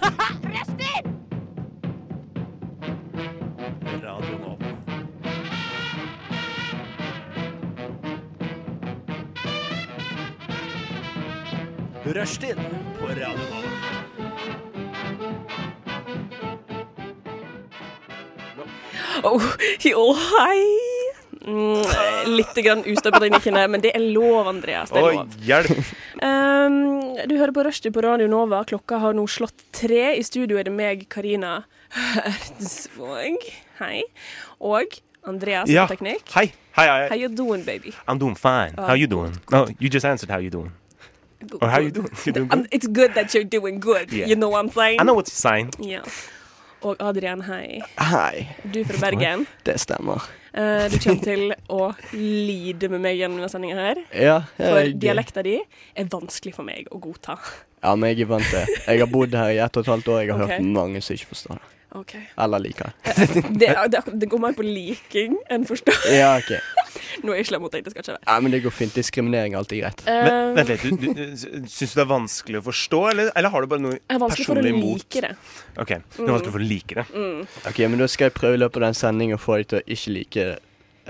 Prester! Radio Nova. Rushtid på Radio Nova. Oh, jo, hei! Mm, litt grann ustøpet inni kinnet, men det er lov, Andreas. Det er Å, lov. hjelp! Um, du hører på Rushdie på Radio Nova. Klokka har nå slått tre. I studio er det meg, Karina Ertensvåg. Hei. Og Andreas Ja. på teknikk. Hei. Hei, hei. How you doing, baby? I'm doing fine. How you doing? No, you just answered how you doing. Good, Or Oh, how you good. doing? You doing Um, good? it's good that you're doing good. Yeah. You know what I'm saying? I know what you're saying. Ja. Og Adrian, hei. Hei, Du er fra Bergen. det stemmer. Eh, du kommer til å lide med meg gjennom denne sendinga her. Ja, For jeg, dialekta di er vanskelig for meg å godta. Ja, men jeg er vant til Jeg har bodd her i ett og et halvt år. Jeg har Ok. hørt mange som ikke forstår det. Ok. Eller liker det. Det, er- det, er- det går mer på liking enn forstå. Ja, OK. Nå er jeg slem mot deg, det skal ikke være. Ja, men det går fint. Diskriminering er alltid greit. Men, Eh, vent litt, du, du, syns du det er vanskelig å forstå, eller, eller har du bare noe jeg er vanskelig for å personlig imot? like Mm. det. Ok, det er vanskelig for å like det. OK, men da skal jeg prøve i løpet av den sendingen å få deg til å ikke like det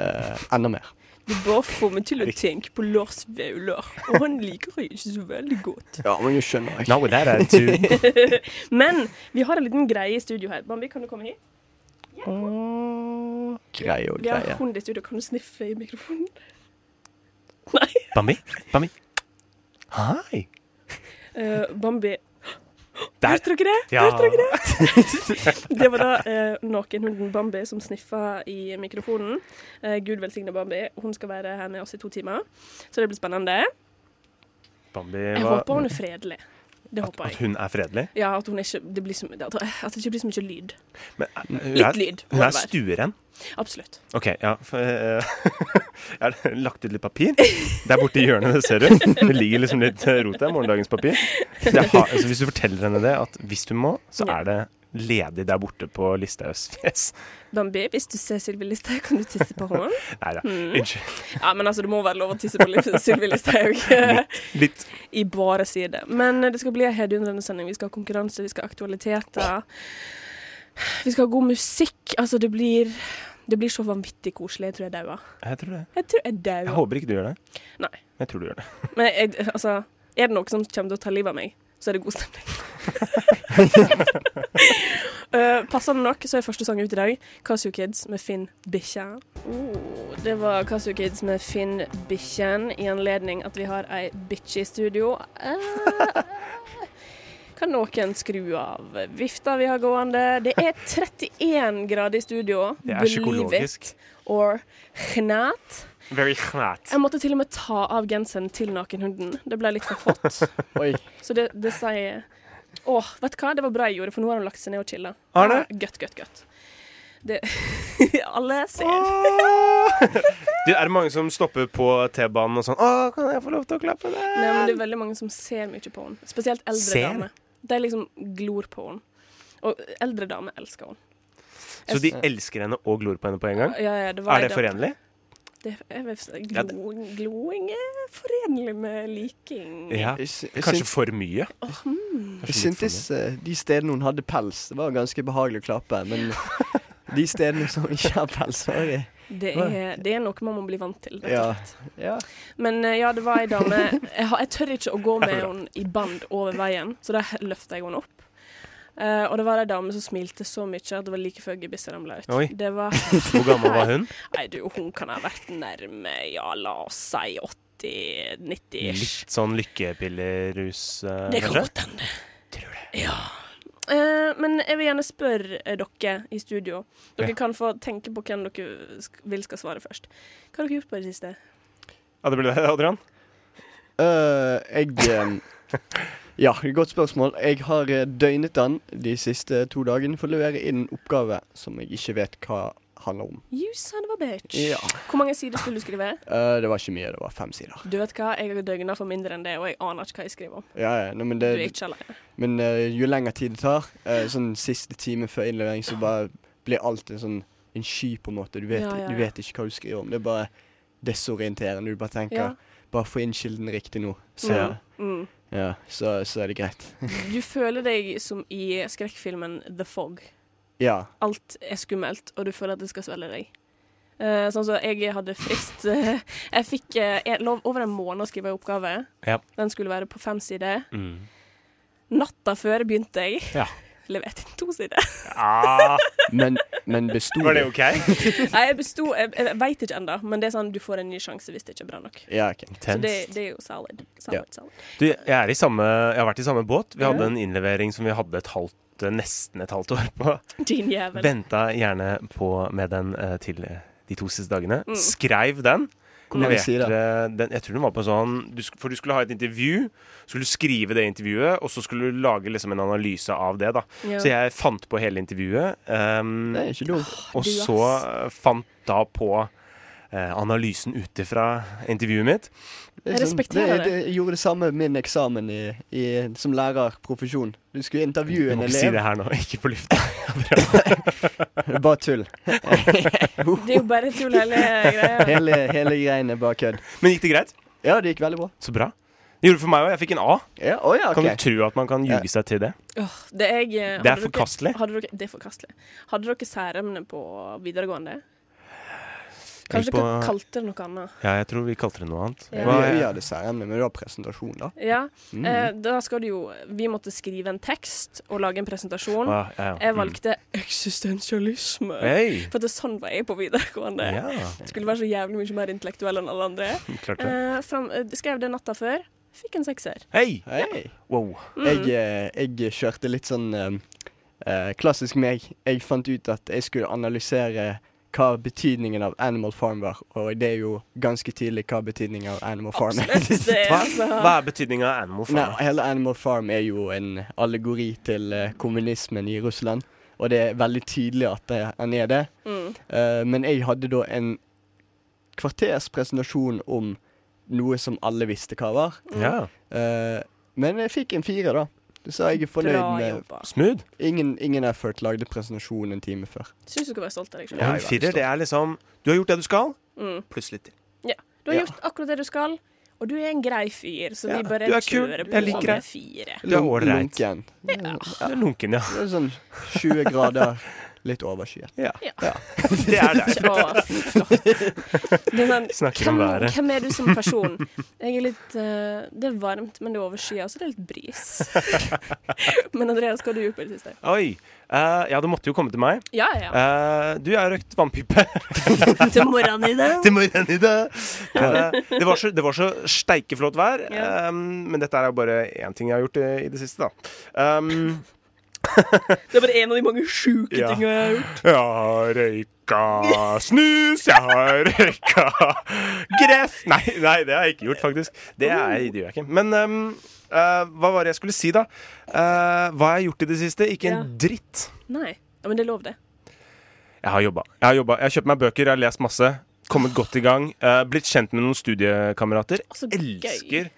eh, enda mer. Du bare får meg til å tenke på Lars Vaular, og han liker jeg ikke så veldig godt. Ja, men du skjønner Now ikke. with that attitude. Men vi har en liten greie i studio her. Bambi, kan du komme hit? Greie og Vi har greie. hund i studio. Kan du sniffe i mikrofonen? Nei. Bambi? Bambi? Hei. Eh, Bambi Der. Hørte dere det? Ja. Hørte dere det? Det var da eh, nakenhunden Bambi som sniffa i mikrofonen. Eh, Gud velsigne Bambi. Hun skal være her med oss i to timer, så det blir spennende. Bambi Jeg var håper hun er fredelig. Det håper At jeg. hun er fredelig? Ja, at, hun ikke, det blir så, at at det ikke blir så mye lyd. Men, eh, hun Litt er- lyd. må Hun er det være. stueren. Absolutt. OK, ja. For, eh, jeg har lagt ut litt papir. Der borte i hjørnet, det ser du. Det ligger liksom litt eh, rot der. Morgendagens papir. Det er, ha- altså, hvis du forteller henne det, at hvis du må, så Ja. er det ledig der borte på Listhaugs fjes. Bambi, hvis du ser Sylvi Listhaug, kan du tisse på henne? Nei da. Mm. Unnskyld. Ja, men altså, det må være lov å tisse på Liv- Sylvi Listhaug. Litt. i bare sider. Men eh, det skal bli en hedundrende sending. Vi skal ha konkurranse, vi skal ha aktualiteter. Vi skal ha god musikk. Altså, det blir det blir så vanvittig koselig. Jeg tror jeg dauer. Jeg tror det. Jeg tror jeg Jeg dauer. håper ikke du gjør det. Nei. Men jeg tror du gjør det. Men jeg, altså, er det noe som kommer til å ta livet av meg, så er det god stemning. Eh, passende nok så er første sang ut i dag Casio Kids med Finn Bikkja. Oh, det var Casio Kids med Finn Bikkjen i anledning at vi har ei bitch i studio. Eh, kan noen skru av vifta vi har gående? Det er 31 grader i studio. Det er Believe psykologisk. it Or knæt. Very flat. Jeg måtte til og med ta av genseren til nakenhunden. Det ble litt for hot. Oi. Så det, det sier Å, vet du hva? Det var bra jeg gjorde, for nå har han lagt seg ned og chilla. Har han Ja, Gøtt, gøtt, gøtt. Det Alle ser. Du, er det mange som stopper på T-banen og sånn 'Å, kan jeg få lov til å klappe deg?' Nei, men det er veldig mange som ser mye på henne. Spesielt eldre Ser? damer. De liksom glor på henne. Og eldre damer elsker henne. Så de elsker henne og glor på henne på en gang? Ja, ja, det var Er det en dame- forenlig? Det, jeg vet, Ja, det- glo, gloing er forenlig med liking. Ja. Jeg sy- jeg Kanskje syns- for mye? hmm. Jeg syntes eh, de stedene hun hadde pels, det var ganske behagelig å klappe. Men de stedene som ikke har pels, var det Det, er, det er noe man må bli vant til. rett og Ja. slett. ja. Men eh, ja, det var ei dame jeg, har, jeg tør ikke å gå med henne i band over veien, så da løfta jeg henne opp. Eh, og det var ei dame som smilte så mye at det var like før gebisset ramla ut. Oi. Det var Hvor gammel var hun? Nei, du, hun kan ha vært nærme, ja, la oss si 80-90-ish. Litt sånn lykkepillerus, eh, Det kan kanskje? godt hende. Ja. Eh, men jeg vil gjerne spørre eh, dere i studio. Dere Ja. kan få tenke på hvem dere sk- vil skal svare først. Hva har dere gjort på i det siste? Ja, det ble det, Adrian. Øh, jeg ehm, Ja, godt spørsmål. Jeg har eh, døgnet den de siste to dagene for å levere inn en oppgave som jeg ikke vet hva handler om. You son of a bitch. Ja. Hvor mange sider skulle du skrive? Eh, det var ikke mye, det var fem sider. Du vet hva, jeg har døgna for mindre enn det, og jeg aner ikke hva jeg skriver om. Ja, ja, nei, men Du er det, ikke alene. men eh, jo lengre tid det tar, eh, sånn siste time før innlevering, så bare blir alt en sånn en sky, på en måte. Du vet, Ja, ja, ja. du vet ikke hva du skriver om. Det er bare desorienterende. Du bare tenker Ja. bare få inn kilden riktig nå, så, Mm. Mm. ja, så, så er det greit. Du føler deg som i skrekkfilmen The Fog. Ja. Alt er skummelt, og du føler at det skal svelge deg. Eh, sånn som jeg hadde frist eh, Jeg fikk eh, en- lov over en måned å skrive en oppgave. Ja. Den skulle være på fem sider. Mm. Natta før begynte jeg. Ja. Leverte inn to sider. Ah, Men, men besto var det det? OK? Nei, jeg besto Jeg, jeg veit ikke ennå, men det er sånn du får en ny sjanse hvis det ikke er bra nok. Ja, OK. Så Intenst. det, det er jo solid. solid, Ja. solid. Du, jeg, er i samme, jeg har vært i samme båt. Vi hadde en innlevering som vi hadde et halvt, nesten et halvt år på. Din jævel. Venta gjerne på med den eh, til eh, de to siste dagene. Mm. Skreiv den. Hvor mange Leverte sider? Den, jeg tror den var på sånn du, sk- For du skulle ha et intervju, skulle du skrive det intervjuet, og så skulle du lage liksom en analyse av det. da Ja. Så jeg fant på hele intervjuet, ehm, Det er ikke dumt. og du, ass. så eh, fant da på eh, analysen ut ifra intervjuet mitt. Det er Ah, Jeg sånn- respekterer det, det. Jeg gjorde det samme med min eksamen i, i, som lærerprofesjon. Du skulle intervjue Du en må elev. ikke si det her nå. Ikke på lufta. Bare tull. Det er jo bare tull, hele greia. Hele, hele greien er bare kødd. Men gikk det greit? Ja, det gikk veldig bra. Så bra. Det gjorde det for meg òg. Jeg fikk en A. Ja, å ja, Kan ok. du tro at man kan ljuge seg til det? Åh, det, er jeg, eh, Det er hadde dere- forkastelig. Hadde dere, det er forkastelig. Hadde dere særemne på videregående? Jeg Kanskje gikk dere på- kalte det noe annet. Ja, jeg tror vi kalte det noe annet. Ja. Vi, Hva- vi hadde særemne, men det var presentasjon, da. Ja, Mm. eh, da skal du jo Vi måtte skrive en tekst og lage en presentasjon. Hva- ja, ja. Jeg Mm. valgte eksistensialisme. Hei! For det er sånn var jeg på videregående. Ja, Skulle være så jævlig mye mer intellektuell enn alle andre. klart det. Eh, fram, eh, skrev det natta før. Fikk en sekser. Hei! Hei. Wow. mm. Jeg, eh, jeg kjørte litt sånn eh, eh, klassisk meg. Jeg fant ut at jeg skulle analysere hva betydningen av Animal Farm var, og det er jo ganske tidlig hva betydningen av Animal Farm er. Absolutt. Det, Hva, altså. hva er betydninga av animal Nei, farm? hele Animal Farm er jo en allegori til eh, kommunismen i Russland, og det er veldig tydelig at det, han er det. Mm. Eh, men jeg hadde da en kvarters presentasjon om noe som alle visste hva var. Mm. Ja. Eh, men jeg fikk en fire, da. Så jeg er fornøyd Bra med jobba. Smooth. ingen, ingen effort. Lagde presentasjonen en time før. Syns du skal være stolt av deg sjøl. Ja, Ja, en jeg er firer, stolt. det er liksom Du har gjort det du skal, Mm. pluss litt til. Du har Ja. gjort akkurat det du skal, og du er en grei fyr, så Ja, vi bare du er kul. kjører på Jeg liker det. med fire. Det er Lun- ålreit. Lunken. Du er lunken, ja. Det er sånn 20 grader, litt overskyet. Det er deg. Å, flott. Det er sånn, Snakker om hvem, været. hvem er du som person? Jeg er litt eh, Det er varmt, men det er overskyet, og så er det litt bris. men Andreas, hva har du gjort på det siste? Oi. Eh, ja, det måtte jo komme til meg. Ja, ja. Eh, du, jeg har røykt vannpipe. Til morgenen i dag. Eh. til morgenen i dag. Eh, det, var så, det var så steikeflott vær, Ja. eh, men dette er jo bare én ting jeg har gjort i, i det siste, da. Um, Det er bare en av de mange sjuke Ja. tingene jeg har gjort. Jeg har røyka snus, jeg har røyka gress Nei, nei, det har jeg ikke gjort, faktisk. Det, er, det gjør jeg ikke. Men ehm, eh, hva var det jeg skulle si, da? Eh, hva har jeg gjort i det siste? Ikke en dritt. Nei. Ja, men det er lov, det. Jeg har jobba. Jeg har, jobbet. jeg har kjøpt meg bøker, jeg har lest masse. Kommet godt i gang. eh, blitt kjent med noen studiekamerater. Å, så gøy. Elsker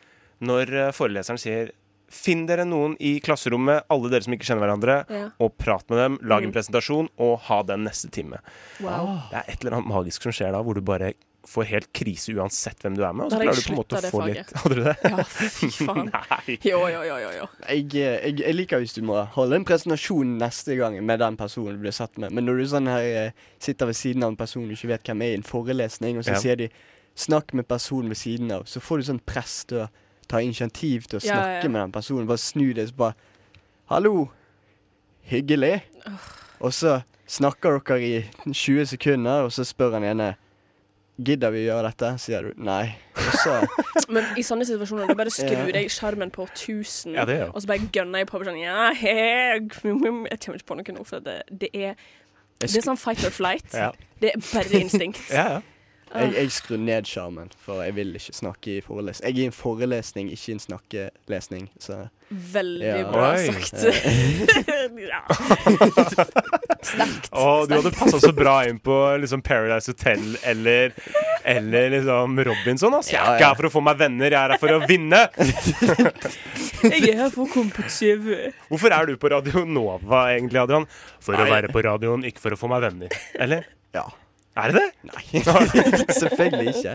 når eh, foreleseren sier Finn dere noen i klasserommet, alle dere som ikke kjenner hverandre, Ja. og prat med dem. Lag Mm. en presentasjon, og ha den neste time. Wow. Det er et eller annet magisk som skjer da, hvor du bare får helt krise uansett hvem du er med. Og Da så har jeg klarer du på en måte sluttet å det få faget. litt Hadde du det? Ja, fy faen. Nei. Jo, jo, jo, jo. jo. Jeg, eh, jeg, jeg liker hvis du må holde en presentasjon neste gang med den personen du blir satt med, men når du sånn her eh, sitter ved siden av en person du ikke vet hvem er, i en forelesning, og så Ja. sier de 'snakk med personen ved siden av', så får du sånn press til å ta initiativ til å Ja, ja, snakke ja. med den personen. Bare snu deg så bare 'hallo, hyggelig', og så snakker dere i 20 sekunder, og så spør han ene 'gidder vi gjøre dette', sier du 'nei', og så Men i sånne situasjoner du bare skrur Ja. deg skjermen på 1000, Ja, det gjør jeg. og så bare gønner jeg på med sånn ja, jeg, jeg kommer ikke på noe nå, for det, det, er, det er sånn fight or flight. Ja. Det er bare instinkt. Ah, Ja, ja. Jeg, jeg skrur ned skjermen, for jeg vil ikke snakke i forelesning. Jeg er i en forelesning, ikke i en snakkelesning. Så Veldig Ja. bra Oi. sagt. ja. Sterkt. Å, du hadde passa så bra inn på liksom Paradise Hotel eller eller liksom Robinson. ass. Jeg Ja, er ikke ja. her for å få meg venner, jeg er her for å vinne! Jeg er her for å komme på TV. Hvorfor er du på Radio Nova egentlig, Adrian? For å Nei. være på radioen, ikke for å få meg venner. Eller? ja. Er det det? Nei. Selvfølgelig ikke.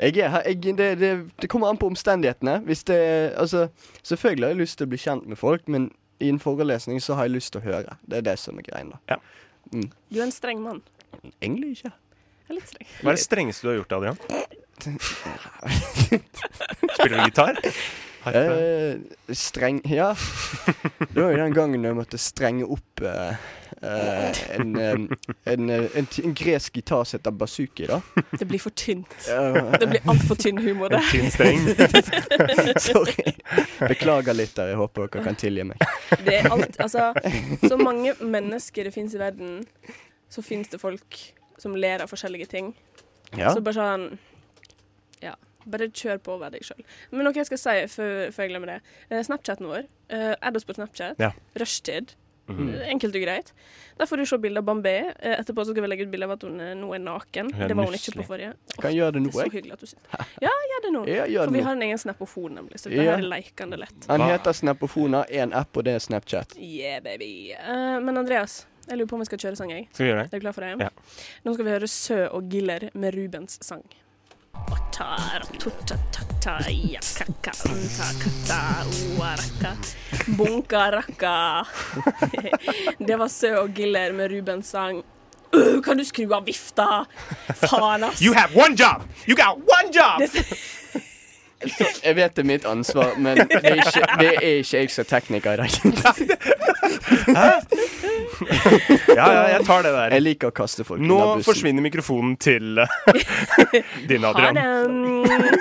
Jeg er, her- jeg, det, det, det kommer an på omstendighetene. Hvis det, altså, selvfølgelig har jeg lyst til å bli kjent med folk, men i en forelesning så har jeg lyst til å høre. Det er det som er greien, da. Du er en streng mann. Egentlig ikke. Jeg er litt streng. Hva er det strengeste du har gjort, Adrian? Spiller du gitar? Harpe? Eh, streng Ja. Det var jo den gangen jeg måtte strenge opp eh, eh, en, eh, en, eh, en, ti- en gresk gitar som heter basuki, da. Det blir for tynt. Eh, Det blir altfor tynn humor, det. En tynn streng? sorry. Beklager litt der. Jeg håper dere kan tilgi meg. Det er alt, altså, så mange mennesker det fins i verden, så fins det folk som ler av forskjellige ting. Ja. Så bare sånn Ja. Bare kjør på og vær deg sjøl. Men noe jeg skal si før, før jeg glemmer det. Eh, Snapchaten vår, eh, add oss på Snapchat, Ja. rushtid. Mhm. Enkelt og greit. Der får du se bilde av Bambé. Eh, Etterpå så skal vi legge ut bilde av at hun eh, nå er naken. Hun er det var hun nusselig. ikke på forrige. Åh, Kan jeg gjøre det det nå, er så jeg. hyggelig at du sitter Ja, gjør det nå. Ja, gjør For vi det har nå. en egen snappofon, nemlig, så Ja. det her er leikende lett. Han Hva? heter Snapofona, én app, og det er Snapchat. Yeah, baby. Eh, men Andreas, jeg lurer på om vi skal kjøre sang, jeg. Skal vi gjøre det? Er du klar for det? Ja. Nå skal vi høre Sø og Giller med Rubens sang. Bunka rakka. Det var Sø og Giller med Rubens sang. Øh, kan du skru av vifta? Faen, ass! You have one job! You got one job! Jeg vet det er mitt ansvar, men det er ikke, det er ikke jeg som er tekniker i dag. Ja, ja, jeg tar det der. Jeg liker å kaste folk Nå under bussen. forsvinner mikrofonen til eh, din, Ha Adrian. Nei den!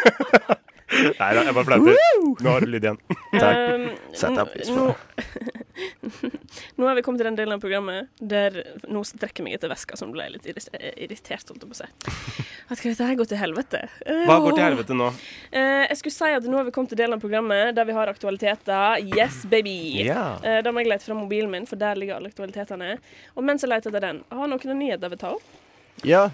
da, jeg bare fleiper. Nå har du lyd igjen. Takk. Um, Sett deg pris på nå, nå har vi kommet til den delen av programmet der nå strekker jeg meg etter veska, som ble litt irris- eh, irritert. Holdt jeg på å si. At skal dette her gå til helvete? Eh, Hva går til helvete nå? Eh, jeg skulle si at nå har vi kommet til delen av programmet der vi har aktualiteter. Yes, baby! Ja. Eh, da må jeg lete fra mobilen min, for der ligger alle aktualitetene. Og mens jeg leter etter den, har noen nyheter vi tar opp? Ja,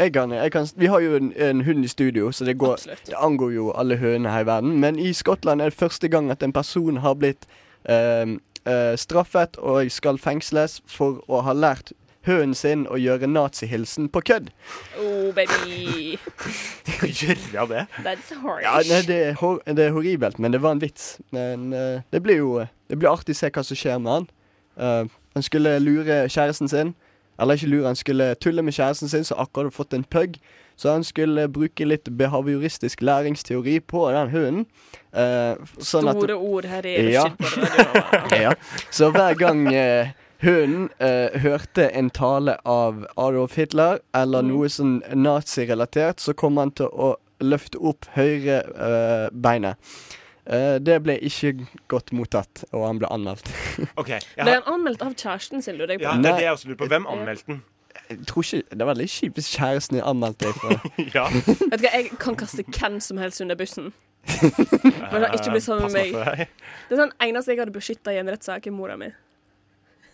jeg kan, jeg kan, vi har jo en, en hund i studio, så det, går, Absolutt. det angår jo alle hønene her i verden. Men i Skottland er det første gang at en person har blitt ehm, eh, straffet og skal fengsles for å ha lært hønen sin å gjøre nazihilsen på kødd. Oh, baby. Gjør jeg det? That's harsh. Ja, nei, det, er hor det er horribelt, men det var en vits. Men eh, det blir jo det blir artig å se hva som skjer med han. Eh, han skulle lure kjæresten sin. Eller ikke lure, han skulle tulle med kjæresten sin, som akkurat hadde fått en pug. Så han skulle bruke litt behavioristisk læringsteori på den hunden. eh, sånn at- Store ord her i Ja. Shit på radioen. ja. Så hver gang eh, hun eh, hørte en tale av Adolf Hitler Mm. eller noe sånn nazirelatert, så kom han til å løfte opp høyre eh, beinet. Eh, det ble ikke godt mottatt, og han ble anmeldt. OK. Jeg Ble har, han anmeldt av kjæresten sin, lurer jeg på. ja, det er det jeg også lurer på. Hvem anmeldte den? Jeg tror ikke, Det var litt kjipt hvis kjæresten din anmeldte deg for det. Ja. Vet du hva, Jeg kan kaste hvem som helst under bussen. Men da ikke bli Eh, sammen med Pass meg. på deg. Det er sånn eneste jeg hadde beskytta i en rettssak, er mora mi.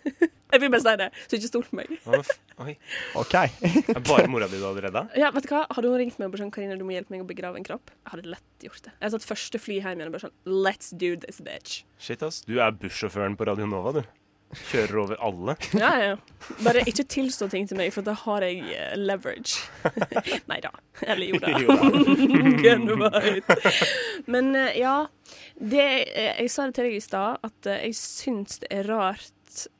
Jeg vil bare si det, så ikke stol på meg. Å, f- Oi. OK. Det er bare mora di du hadde redda? Ja, vet du hva? Hadde hun ringt meg og bare sånn Karina, du må hjelpe meg å begrave en kropp, jeg hadde lett gjort det. Jeg hadde tatt første fly hjem igjen og bare sånn Let's do this, bitch. Shit, ass. Du er bussjåføren på Radio Nova, du. Kjører over alle. Ja, ja, ja. Bare ikke tilstå ting til meg, for da har jeg eh, leverage. Nei da. Eller jo da. Jo da. Gunn White. Men eh, ja, det, eh, jeg sa det til deg i stad, at eh, jeg syns det er rart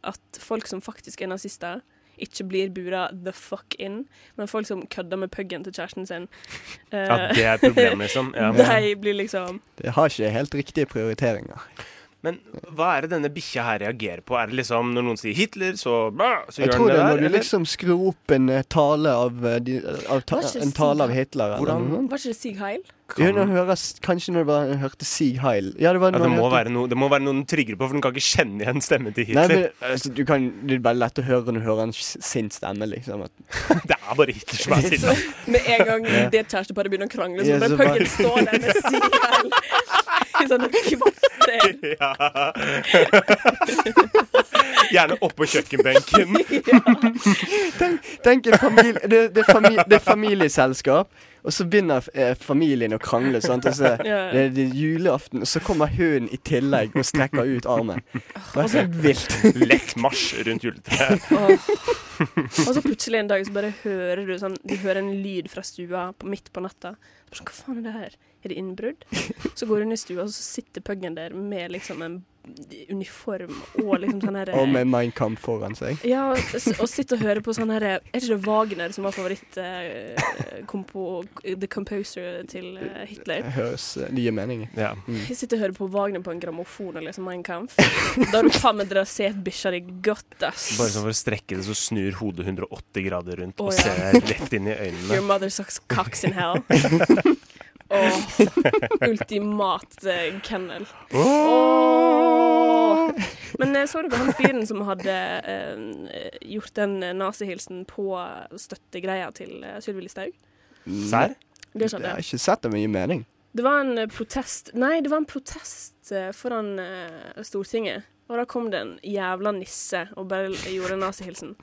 at folk som faktisk er nazister, ikke blir bura the fuck in, men folk som kødder med puggen til kjæresten sin, Ja, eh, det er problemet, liksom. Ja. de blir liksom Det har ikke helt riktige prioriteringer. Men hva er det denne bikkja her reagerer på? Er det liksom når noen sier Hitler, så, bæ, så Jeg gjør tror den det det er der? når du eller? liksom skrur opp en eh, tale av, eh, de, av ta, Hva slags En tale av Hitler eller Hvordan- noe. Var ikke det Sig Heil? Ja, nå høres, kanskje når man hørte Sig Heil. Ja, det, var Ja, når det, man må hørte- være noe, det må være noen tryggere på, for den kan ikke kjenne igjen stemmen til Nei, Hitler. men, altså, du kan, det er bare lett å høre når du hører en s- sint stemme, liksom. At, Det er bare Hitler som er sinna. Med en gang det kjæresteparet begynner å krangle, så Ja, bare så bare- puggen står der med Sig Heil. Sånn, I sånne kvarter. Ja. Gjerne oppå kjøkkenbenken. tenk, tenk en familie det, det, er fami, det er familieselskap, og så begynner eh, familien å krangle. Sant? Og så, Ja. det, er- det er julaften, og så kommer hunden i tillegg og strekker ut armen. Det er helt vilt. Lett marsj rundt juletreet. Åh. Og så plutselig en dag så bare hører du sånn Du hører en lyd fra stua på, midt på natta. Så Sånn, Hva faen er det her? Er det innbrudd? Så går hun i stua, og så sitter puggen der med liksom en uniform og liksom sånn herre Og med Mein Kampf foran seg. Ja, og s- og sitte og høre på sånn herre Er ikke det Wagner som var favoritt eh, kompo, The Composer til eh, Hitler? Jeg høres eh, nye meninger. Ja. Jeg sitter og hører på Wagner på en grammofon og liksom Mein Kampf. Da har du faen meg drasert bikkja di godt, ass. Bare sånn for å strekke det, så snur hodet 180 grader rundt Å, og ja. ser rett inn i Your øynene. mother sucks cocks in hell. Åh, ultimat eh, kennel. Åh. Men eh, så dere han fyren som hadde eh, gjort den eh, nazihilsen på støttegreia til eh, Sylvi Listhaug? Serr? Det Jeg skjedde. har ikke sett det med mye mening. Det var en eh, protest Nei, det var en protest eh, foran eh, Stortinget. Og da kom det en jævla nisse og bare gjorde nazihilsen.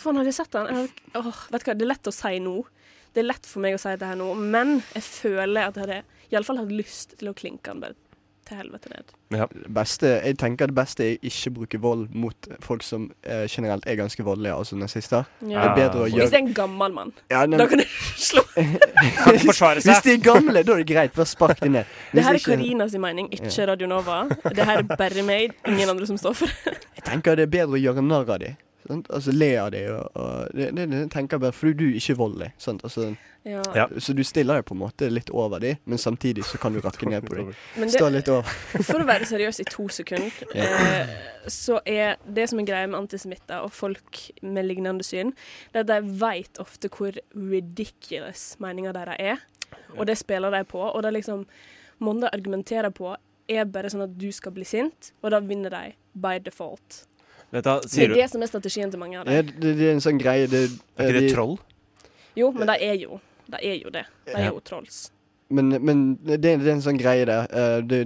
Faen, hadde jeg sett den? Jeg hadde, åh, vet du hva, det er lett å si nå. Det er lett for meg å si det her nå, men jeg føler at jeg hadde iallfall hatt lyst til å klinke den bare til helvete ned. Ja. Det beste, jeg tenker det beste er ikke å bruke vold mot folk som eh, generelt er ganske voldelige, altså nazister. Det Ja. er bedre å Hvis gjøre det er en gammel mann, ja, nei, da kan du slå. Kan ikke forsvare Hvis seg. de er gamle, da er det greit. Bare spark dem ned. Det her er Hvis ikke- Karina sin mening, ikke Radio Nova. Det her er bare meg, ingen andre som står for det. Jeg tenker det er bedre å gjøre narr av dem. Sant? Altså le av dem. Og, og det, det, det tenker jeg bare fordi du er ikke voldelig. Sant? Altså, Ja. Ja. så du stiller deg på en måte litt over dem, men samtidig så kan du rakke ned på dem. Men det, Stå litt over. For å være seriøs i to sekunder, eh, så er det som er greia med antisemitter og folk med lignende syn, det er at de vet ofte hvor ridiculous meninga deres er, og det spiller de på. Og det er liksom Måndag argumenterer på er bare sånn at du skal bli sint, og da vinner de by default. Vet du, hva, Det sier er du det som er strategien til mange av Ja, dem. det, det er en sånn greie det, Er ikke det de- troll? Jo, men de er jo de er jo det. De er jo trolls. Men, men det, det er en sånn greie der. eh, det,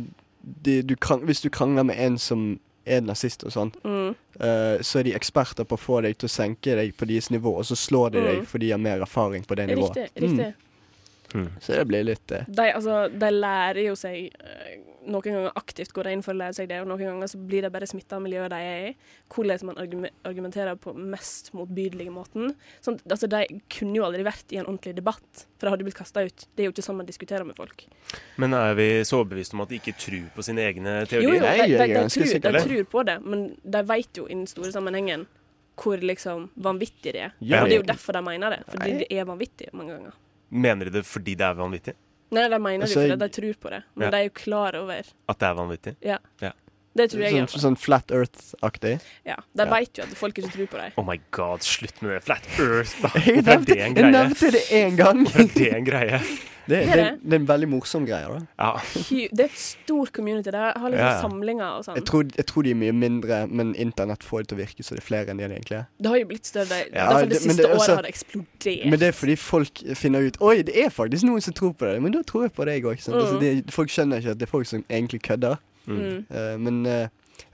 det, du krang, hvis du krangler med en som er nazist og sånn, Mm. eh, så er de eksperter på å få deg til å senke deg på deres nivå, og så slår de deg Mm. fordi de har mer erfaring på det nivået. Riktig. riktig. Hmm. Mm. Så det blir litt eh, De, altså, de lærer jo seg eh, Noen ganger aktivt går de inn for å lære seg det, og noen ganger så blir de bare smitta av miljøet de er i. Hvordan man argume- argumenterer på mest motbydelige måten. Sånn, altså, de kunne jo aldri vært i en ordentlig debatt, for de hadde blitt kasta ut. Det er jo ikke sånn man diskuterer med folk. Men er vi så overbevist om at de ikke tror på sine egne Jo, jo, teorier? de, Nei, jeg de, er de, ganske tror, de sikker på det. tror på det, men de veit jo i den store sammenhengen hvor liksom vanvittig det er. Ja. Og det er jo derfor de mener det, fordi Nei. det er vanvittig mange ganger. Mener de det fordi det er vanvittig? Nei, de mener det Altså, jo fordi de tror på det, men Ja. de er jo klar over At det er vanvittig? Ja. Ja. Det tror jeg. i sånn, hvert fall. sånn flat earth-aktig. Ja, De Ja. vet jo at folk ikke tror på dem. Oh my god, slutt med det. Flat Earth, da. Jeg Hvorfor er nevnte, det jeg en greie? nevnte det én gang. Hvorfor er det en greie? Det, er det, det. det er en veldig morsom greie. da Ja. Hy- Det er et stor community. De har liksom Ja, ja. samlinger og sånn. jeg tror, jeg tror de er mye mindre, men internett får det til å virke så det er flere enn de er egentlig er. Det har jo blitt større. Det, Ja, derfor det, det- men siste det er også- året har det eksplodert. Men det er fordi folk finner ut Oi, det er faktisk noen som tror på det, men da tror jeg på deg òg. Mm. Altså, det- folk skjønner ikke at det er folk som egentlig kødder. mm. Eh, men eh,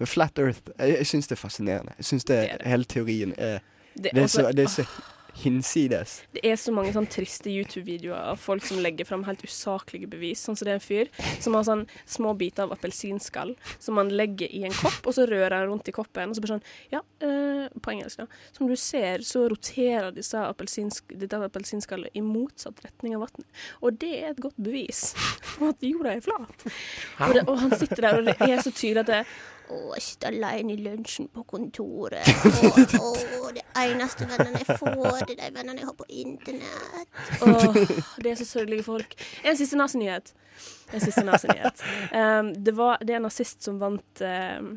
Flat Earth Jeg, jeg syns det er fascinerende. Jeg syns det, Det er det. hele teorien er det, Det er altså, så, det er så hinsides. det er så mange sånn triste YouTube-videoer av folk som legger fram helt usaklige bevis. Sånn som det er en fyr som har sånn små biter av appelsinskall som han legger i en kopp, og så rører han rundt i koppen, og så bare sånn Ja, eh, på engelsk, da. Som du ser, så roterer disse appelsinsk dette appelsinskallet i motsatt retning av vannet. Og det er et godt bevis på at jorda er flat. Og, det, og han sitter der, og det er så tydelig at det Å, jeg sitter alene i lunsjen på kontoret. Og, og det eneste vennene jeg får, det er de vennene jeg har på internett. Åh, det er så sørgelige folk. En siste nazinyhet. En siste nazinyhet. Um, det, var, det er en nazist som vant um,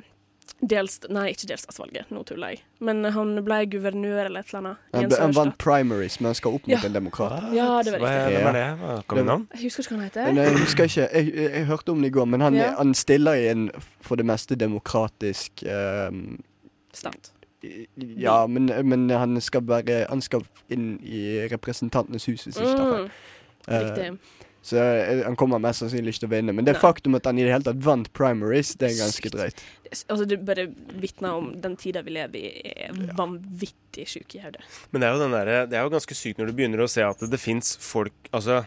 dels, Nei, ikke delstatsvalget, nå tuller jeg. Men han ble guvernør eller et eller annet. i en Han, han sørstat. vant primaries, men han skal opp mot Ja. en demokrat. Ja, det var Hva riktig. er, hvem er det? Hva kom det navn? Jeg husker ikke hva han Men eh, heter. jeg husker ikke Jeg, jeg, jeg hørte om det i går, men han, Ja. han stiller i en for det meste demokratisk ehm, Stant. i- Ja, men, men han skal være Han skal inn i Representantenes hus, hvis jeg ikke tar feil. Mm, riktig. Eh, så eh, han kommer mest sannsynlig ikke til å vinne. Men det Nei. faktum at han i det hele tatt vant primaries, det er ganske Sykt. drøyt. Altså, det bare vitner om den tida vi lever i, er vanvittig sjuk i hodet. Men det er jo, den der, det er jo ganske sykt når du begynner å se at det fins folk Altså,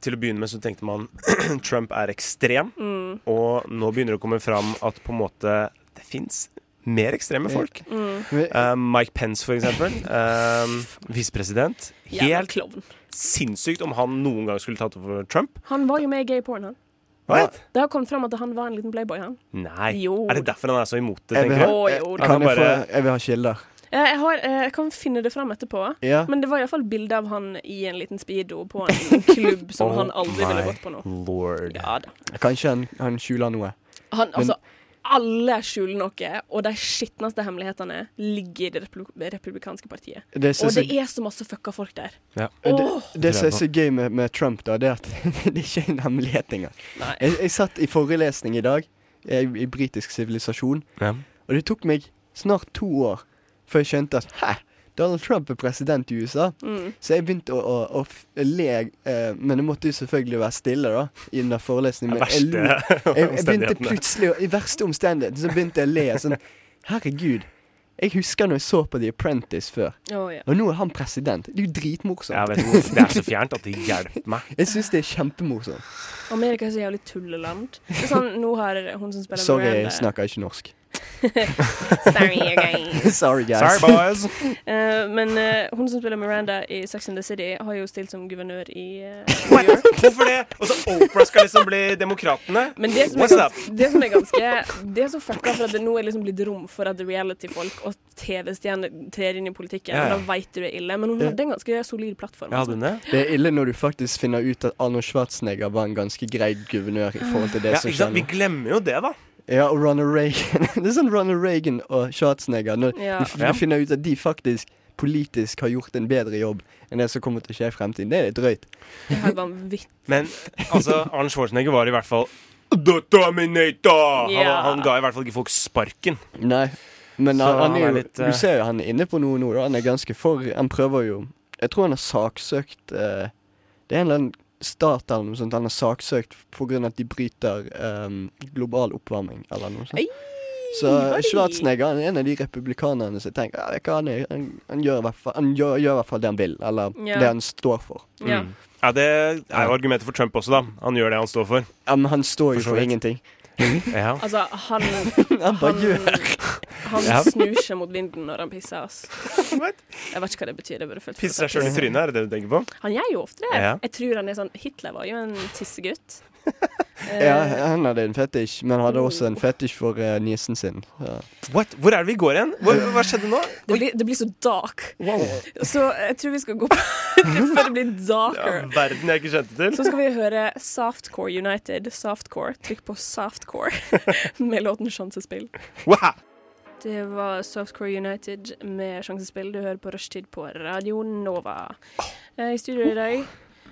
til å begynne med så tenkte man Trump er ekstrem, Mm. og nå begynner det å komme fram at på en måte det fins mer ekstreme folk. mm. Eh, Mike Pence, for eksempel. eh, Visepresident. Jævla Helt klovn. sinnssykt om han noen gang skulle tatt over Trump. Han var jo med i gay porn, han. What? Det har kommet fram at han var en liten playboy, han. Nei. Jo. Er det derfor han er så imot det, Jeg vil tenker du? ha, Å, jeg, jo, kan da. jeg, få, Bare- jeg vil ha kilder. Eh, Jeg, har, eh, jeg kan finne det fram etterpå. Ja. Men det var iallfall bilde av han i en liten speedo på en klubb som Oh han aldri ville my gått på nå. Lord. Ja da. Kanskje han, han skjuler noe. Han, altså, alle skjuler noe, og de skitneste hemmelighetene ligger i det republi- republikanske partiet. Det som Og er så, det er så masse fucka folk der. Ja. Åh, det som er så gøy med, med Trump, da, det er at det er ikke en hemmelighet engang. Nei. Jeg, jeg satt i forelesning i dag, i, i britisk sivilisasjon, Ja. og det tok meg snart to år før jeg skjønte at hæ, Donald Trump er president i USA. Mm. Så jeg begynte å, å, å f- le, eh, men jeg måtte jo selvfølgelig være stille da, i den der forelesningen. Men jeg, lo. Verste jeg, jeg begynte omstendighetene. plutselig, å- i verste omstendighet, så begynte jeg å le sånn. Herregud, jeg husker når jeg så på The Apprentice før, Å, ja. og nå er han president. Det er jo Jeg dritmorsomt. vet ikke hvorfor. Det er så fjernt at det hjelper meg. Jeg syns det er kjempemorsomt. Amerika er så jævlig tulleland. Det er sånn, nå har hun som spiller Sorry, jeg Miranda- snakker ikke norsk. Sorry, again. Sorry, guys. Sorry, boys. Eh, men eh, hun som spiller Miranda i Sex and the City, har jo stilt som guvernør i eh, New York. Hvorfor det? Og så Oprah skal liksom bli demokratene? Men det som, er What's up? gans, det som er ganske Det er så fucka for at det nå er liksom blitt rom for at reality-folk og TV-stjerner trer inn i politikken. Ja, ja. Da veit du det er ille. Men hun Ja. hadde en ganske solid plattform. Ja, hadde altså. hun det? Det er ille når du faktisk finner ut at Arnold Schwarzenegger var en ganske grei guvernør i forhold til det Ja, som ikke sant? Vi skjer nå. glemmer jo det, da. Ja, og Ronald Reagan. det er sånn Ronald Reagan og Schwarzenegger. Når Ja. du, f- du Ja. finner ut at de faktisk politisk har gjort en bedre jobb enn det som kommer til å skje i fremtiden. Det er litt drøyt. Det er helt vanvittig. Men altså, Arne Schwarzenegger var i hvert fall The Dominator! Han, Ja. han ga i hvert fall ikke folk sparken. Nei. Men Så han, han er han jo er litt, eh, Du ser jo han er inne på noe nå. da. Han er ganske for Han prøver jo Jeg tror han har saksøkt eh, Det er en eller annen stat eller noe sånt han har saksøkt på grunn av at de bryter eh, global oppvarming eller noe sånt. Ei, Så uh, oi. Schwarzenegger han er en av de republikanerne som tenker ja, vet du hva, han, er, han, han, gjør i hvert fall, han gjør, gjør i hvert fall det han vil, eller Ja. det han står for. Ja. Mm. Ja, Det er jo argumentet for Trump også, da. Han gjør det han står for. Ja, men han står For jo så for vidt. ingenting. Ja. Altså, han Han bare gjør Han, han Ja. snur seg mot vinden når han pisser, ass. What? Jeg vet ikke hva det betyr. Jeg burde følt Pisse seg sjøl i trynet, er det det du tenker på? Han gjør jo ofte det. Ja. Jeg tror han er sånn Hitler var jo en tissegutt. ja, Eh, Han hadde en fetisj, men hadde også en fetisj for eh, niesen sin. Ja. What? Hvor er det vi går hen? Hva, hva skjedde nå? det, blir, det blir så dark. Så jeg tror vi skal gå på før det blir darker. Ja, verden jeg ikke kjente til. Så skal vi høre Softcore United. Softcore. Trykk på Softcore med låten Sjansespill. Wow. Det var Softcore United med Sjansespill. Du hører på Rushtid på Radio Nova. Eh, I studio i dag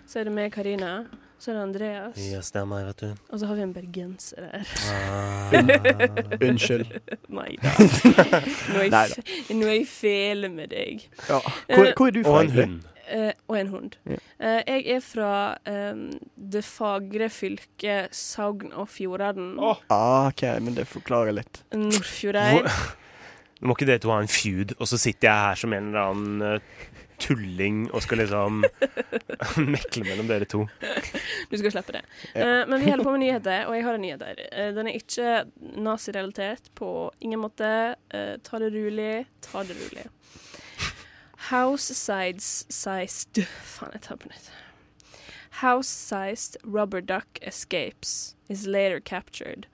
så er det meg, Karina. Så er det Andreas. stemmer, vet du. Ah. Og så har vi en bergenser her. Unnskyld. Nei da. Nå er jeg Neida. f- nå er jeg fæl med deg. Ja. Hvor, hvor er du fra? Og en egentlig? hund. Eh, og en hund. Ja. Eh, jeg er fra eh, det fagre fylket Sogn og Fjordane. Åh. Ah, ok, men det forklarer litt. Nordfjordeid. Må ikke dere to ha en feud, og så sitter jeg her som en eller annen eh, tulling og skal liksom mekle mellom dere to. Du skal slippe det. Ja. Eh, men vi holder på med nyheter, og jeg har en nyhet her. Eh, den er ikke nazirelatert på ingen måte. Eh, ta det rolig, ta det rolig. House-sized Faen, jeg tar på nytt. House-sized rubber duck escapes, is later captured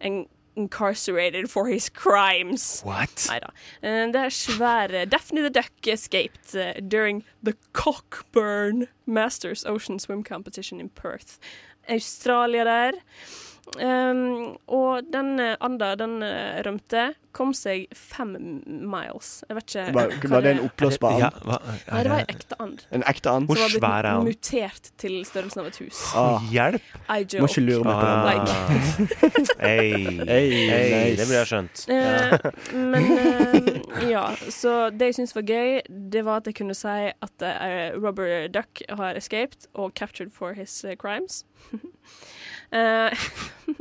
and incarcerated for his crimes. What? Nei da. Eh, Det er svære Daphne the Duck escaped eh, during the Cockburn Masters Ocean Swim Competition in Perth. Australia der. Um, og den eh, anda, den eh, rømte, kom seg fem miles. Jeg vet ikke Var, var det en oppblåsbar and? Nei, det var en ekte and. En ekte and? Hvor Som var blitt svær er han? mutert til størrelsen av et hus. Ah, Hjelp! I må joke. ikke lure meg på Ah. den. Like. Hei. Hey, nice. Det burde jeg skjønt. Eh, men eh, ja, så det jeg syns var gøy, det var at jeg kunne si at eh, Robber Duck har escaped og captured for his eh, crimes. Eh,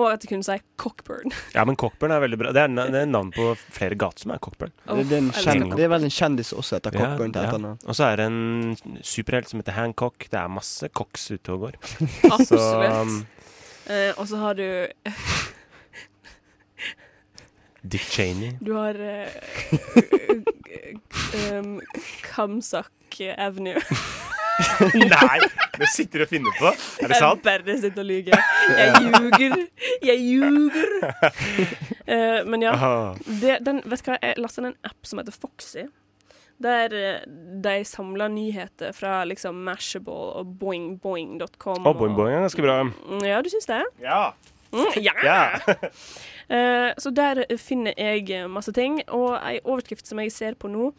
og at jeg kunne si Cockburn. Ja, men Cockburn er veldig bra. Det er, na- det er navn på flere gater som er Cockburn. Det, det, er en Åh, Oh, jeg elsker kjendis, det er vel en kjendis også etter Ja, Cockburn til ja. etternavn. Og så er det en superhelt som heter Hancock. Det er masse Cocks ute og går. Så Absolutt. um, Eh, og så har du Dick Cheney. Du har uh, um, Kamsak Avenue. Nei! Det sitter du og finner på. Er det Jeg sant? bare sitter og lyver. Jeg ljuger. Jeg ljuger. Eh, men ja. Ah. Det, den, vet du hva, jeg lasta ned en app som heter Foxy. Der eh, de samler nyheter fra liksom Mashable og boingboing.com. Å, Boing Boing er ganske bra. Mm, Ja, du syns det? Ja. Mm, ja! Ja. Eh, så der finner jeg eh, masse ting. Og ei overskrift som jeg ser på nå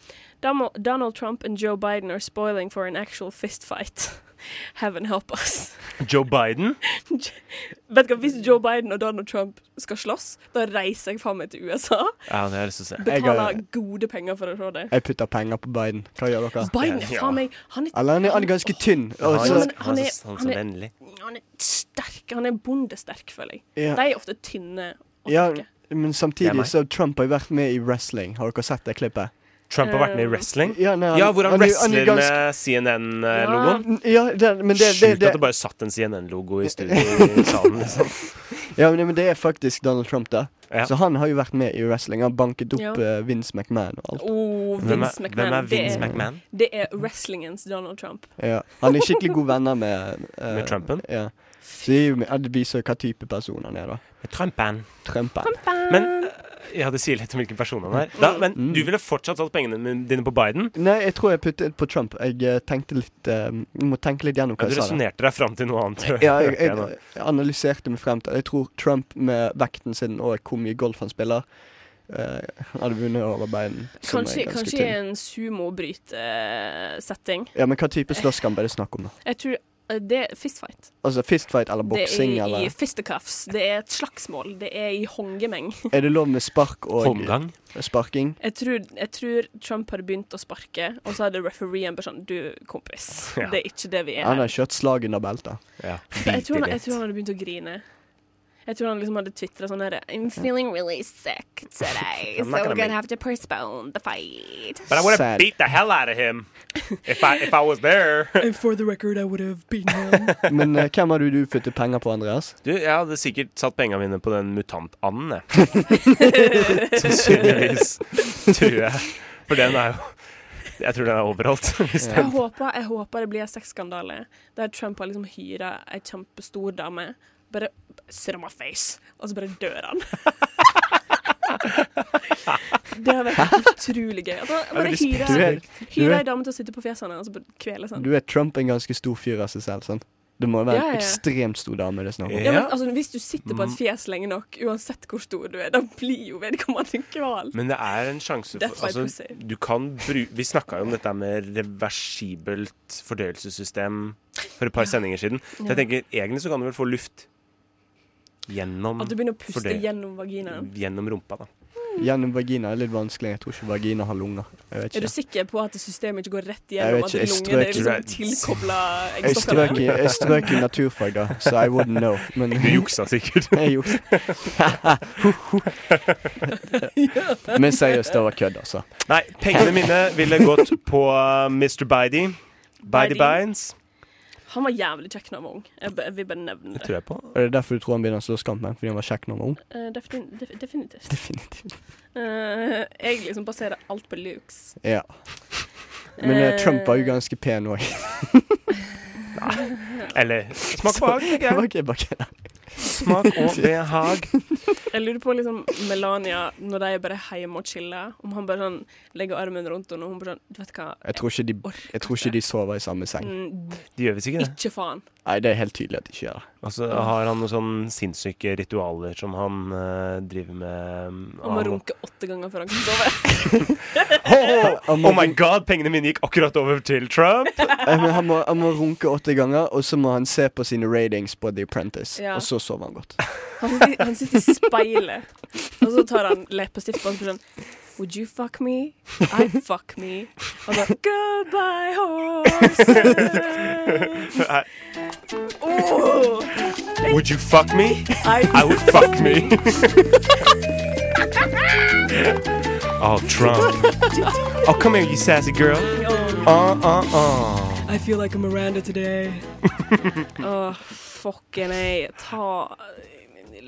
Damo- Donald Trump and Joe Biden are spoiling for an actual fistfight. Heaven help us. Joe Biden. Vet du hva, Hvis Joe Biden og Donald Trump skal slåss, da reiser jeg faen meg til USA. Ja, det har jeg lyst til å se. Jeg har- Betaler gode penger for å se det. Jeg putter penger på Biden. Hva gjør dere? Biden er Ja. faen meg Han er, Eller han er, han er ganske tynn. Og Ja, så men han er- så- han er- vennlig. han er sterk. Han er bondesterk, føler jeg. Ja. De er ofte tynne og Ja, sterke. Det men er meg. samtidig så Trump har jo vært med i wrestling. Har dere sett det klippet? Trump har vært med i wrestling. Eh, Ja, nei, Ja, hvor han er- er wrestler ganske- med CNN-logoen. Ja, det, men det, det, Sjukt at det det, bare satt en CNN-logo i studio i salen. Liksom. ja, men det- men det er faktisk Donald Trump, da. Ja. Så han har jo vært med i wrestling. Han har banket opp Ja. eh, Vince McMahon og alt. Oh, Hvem Vince er, McMahon. hvem er Vince det, er, McMahon? det er wrestlingens Donald Trump. Ja. Han er skikkelig gode venner med eh, Med Trumpen? Ja. Så det er jo med- ja, det viser jo hva type person han er, da. Trumpen. Trumpen. Men eh, ja, det sier litt om hvilken person han er. Da, men Mm. du ville fortsatt holdt pengene min- dine på Biden. Nei, jeg tror jeg puttet på Trump. Jeg eh, tenkte litt eh, Må tenke litt gjennom Ja, hva du jeg sa. da. resonnerte deg fram til noe annet. Ja, jeg, hørte jeg nå. jeg, jeg analyserte meg frem til Jeg tror Trump med vekten sin og hvor mye golf han spiller, eh, hadde vunnet over Biden. som er Kanskje, ganske kanskje i tynn. en sumobrytesetting. Ja, Men hva type slåsskamp er det snakk om? da? Jeg tror eh, det er fistfight. Altså Fistfight eller Det boksing? er i, i Eller fistecuffs. Det er et slagsmål. Det er i hongemeng. er det lov med spark og Holmgang. sparking? Jeg tror, jeg tror Trump hadde begynt å sparke, og så hadde refereen bare sånn Du, kompis, Ja. det er ikke det vi er. Han her har kjørt slag under beltet. Ja. For jeg, tror han, jeg Bitte litt. tror han hadde begynt å grine. Jeg tror han liksom hadde twitra sånn derre I'm feeling really sick today, I'm so not gonna we're make- gonna have to postpone the fight. But I would have Sad. beat the hell out of him if I, if I was there. And for the record, I would have beaten him. Men eh, hvem hadde du puttet penger på, Andreas? Du, jeg hadde sikkert satt pengene mine på den mutantanden, jeg. Sannsynligvis, tror jeg. For den er jo Jeg tror den er overalt. Hvis jeg, den. håper, jeg håper det blir en sexskandale der Trump har liksom hyra ei kjempestor dame. Bare sit on my face, og så bare dør han. det hadde vært utrolig gøy. Altså, blir bare Du hyre er, du hyre er, ei dame til å sitte på fjeset hans og så bare kvele sånn. du er Trump en ganske stor fyr av seg selv, sant? Det må jo være Ja, ja, ja. en ekstremt stor dame det er snakk om. Ja, men Ja. altså, Hvis du sitter på et Mm. fjes lenge nok, uansett hvor stor du er, da blir jo vedkommende kval. Men det er en sjanse That's for my altså, pussy. du kan bru Vi snakka jo om dette med reversibelt fordøyelsessystem for et par sendinger siden. Så jeg tenker, egentlig så kan du vel få luft gjennom At du begynner å puste Fordøy- gjennom Mm. vaginaen. Gjennom rumpa, da. Gjennom vagina er litt vanskelig. Jeg tror ikke vagina har lunger. Jeg vet Er du ikke. sikker på at systemet ikke går rett Jeg vet gjennom? At ikke, jeg lungene er strøk- liksom tilkobla Jeg strøk, eggstokkene? i, jeg strøk i naturfag, da, så I wouldn't know. Men Du juksa sikkert. jeg juksa. Men seriøst, det var kødd, altså. Nei, pengene mine ville gått på uh, Mr. Bidey. Bidey Bidey. Binds. Han var jævlig kjekk da han var ung. Jeg, b- jeg vil bare nevne det. Tror jeg på. Er det derfor du tror han begynner å slåss kampen? Fordi han var kjekk når han var ung? Eh, defin- def- definitivt. Definitivt. Eh, jeg liksom baserer alt på looks. Ja. Men eh, Eh, Trump var jo ganske pen òg. Eller smak og behag. tenker jeg. Smak og behag. Jeg lurer på liksom Melania, når de er bare hjemme og chiller, om han bare sånn legger armen rundt henne, og hun bare sånn Du vet hva, Jeg tror ikke de, orker jeg tror ikke de sover i samme seng. Mm, Det gjør visst ikke det. Ikke faen. Nei, det er helt tydelig at de ikke gjør det. Og så har han noen sånne sinnssyke ritualer som han eh, driver med. um, Han må han- runke åtte ganger før han kan sove. Oh, Han må oh my god, pengene mine gikk akkurat over til Trump! Eh, men han, må, han må runke åtte ganger, og så må han se på sine ratings på The Apprentice. Ja. Og så sover han godt. Han sitter, han sitter i speilet, og så tar han leppestift på og sånn Would you fuck me? I'd fuck me. Og så Goodbye, horse. Nei, Oh, Would you fuck me? I I, would fuck me. oh, Trump. Oh, come here, you sassy girl. oh, Uh, uh, uh. I feel like a Miranda today. Åh, fucking A. Ta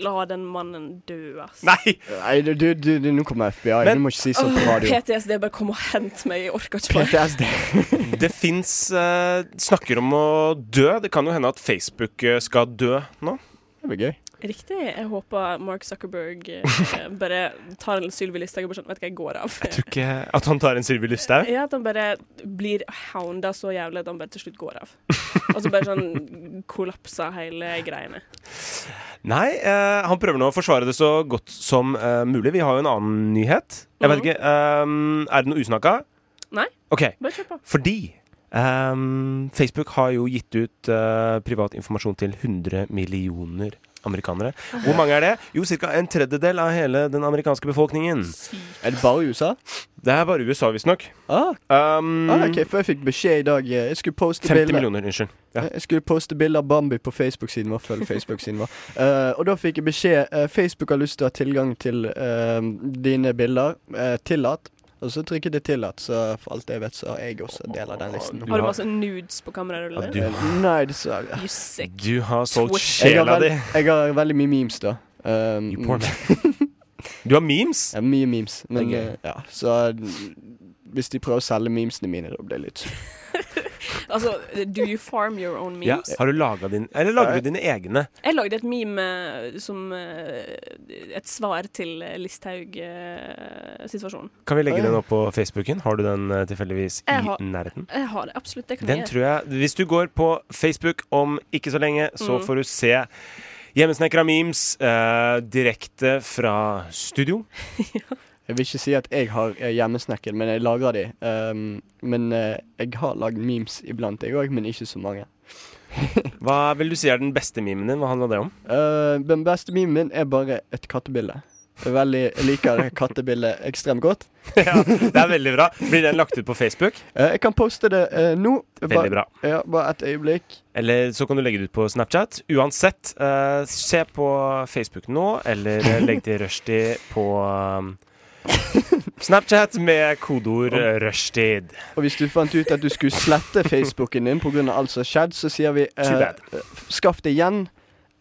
La den mannen dø, ass. Nei! Nei, du, du, du, nå kommer FBI. Men- du må ikke si sånn på Åh, radio. PTSD, bare kom og hent meg. Jeg orker ikke mer. PTSD. Det fins eh, snakker om å dø. Det kan jo hende at Facebook eh, skal dø nå. Det blir gøy. Riktig. Jeg håper Mark Zuckerberg eh, bare tar en Sylvi Listhaug og bare sånn Vet du hva jeg går av. Jeg tror ikke at han tar en Sylvi Lysthaug. Ja, at han bare blir hounda så jævlig at han bare til slutt går av. Og så bare sånn kollapser hele greiene. Nei, eh, han prøver nå å forsvare det så godt som eh, mulig. Vi har jo en annen nyhet. Jeg vet ikke, eh, Er det noe usnakka? Nei. OK. Bare kjør på. Fordi ehm, Facebook har jo gitt ut eh, privat informasjon til 100 millioner amerikanere. Hvor mange er det? Jo, ca. en tredjedel av hele den amerikanske befolkningen. Er det bare i USA? Det er bare USA, visstnok. Ah, Um, ah, ok, For jeg fikk beskjed i dag. eh, Jeg skulle poste 50 bilder millioner, unnskyld. Ja. Jeg skulle poste bilder av Bambi på Facebook-siden vår. Følg Facebook-siden vår. Eh, og da fikk jeg beskjed eh, Facebook har lyst til å ha tilgang til eh, dine bilder. Eh, tillat. Og så trykket jeg 'tillat', så for alt jeg vet, så har jeg også del av den listen. Du Har har- du masse nudes på kameraet? Ja, Ja, du- Eh, Nei, dessverre. you sick. Du har solgt Twitch. Jeg har, sjela di. veld- jeg har veldig mye memes, da. Um, You poor man. Du har memes? Ja, mye memes. Men, Det er gøy. eh, ja, så mm, hvis de prøver å selge memesene mine, da blir det litt Altså, do you farm your own Ja. memes? Har du laga din Eller lager du dine egne? Jeg lagde et meme eh, som eh, et svar til eh, Listhaug-situasjonen. Kan vi legge Ja. den opp på Facebooken? Har du den eh, tilfeldigvis i Jeg har- nærheten? Jeg har det absolutt. Det kan Den jeg tror jeg Hvis du går på Facebook om ikke så lenge, så Mm. får du se Hjemmesnekra memes eh, direkte fra studio. Jeg vil ikke si at jeg har eh, hjemmesnekket, men jeg lagrer de. Um, men eh, jeg har lagd memes iblant, jeg òg, men ikke så mange. Hva vil du si er den beste memen din? Hva handler det om? Eh, den beste memen min er bare et kattebilde. Jeg er Veldig, jeg liker kattebildet ekstremt godt. ja, det er veldig bra. Blir den lagt ut på Facebook? Eh, jeg kan poste det eh, nå. Veldig bra. Ja, bare et øyeblikk. Eller så kan du legge det ut på Snapchat. Uansett, eh, se på Facebook nå, eller eh, legg til rushtid på um, Snapchat med kodeord eh, 'rushtid'. Og hvis du fant ut at du skulle slette Facebooken din pga. alt som har skjedd, så sier vi eh, Too bad. eh, skaff det igjen.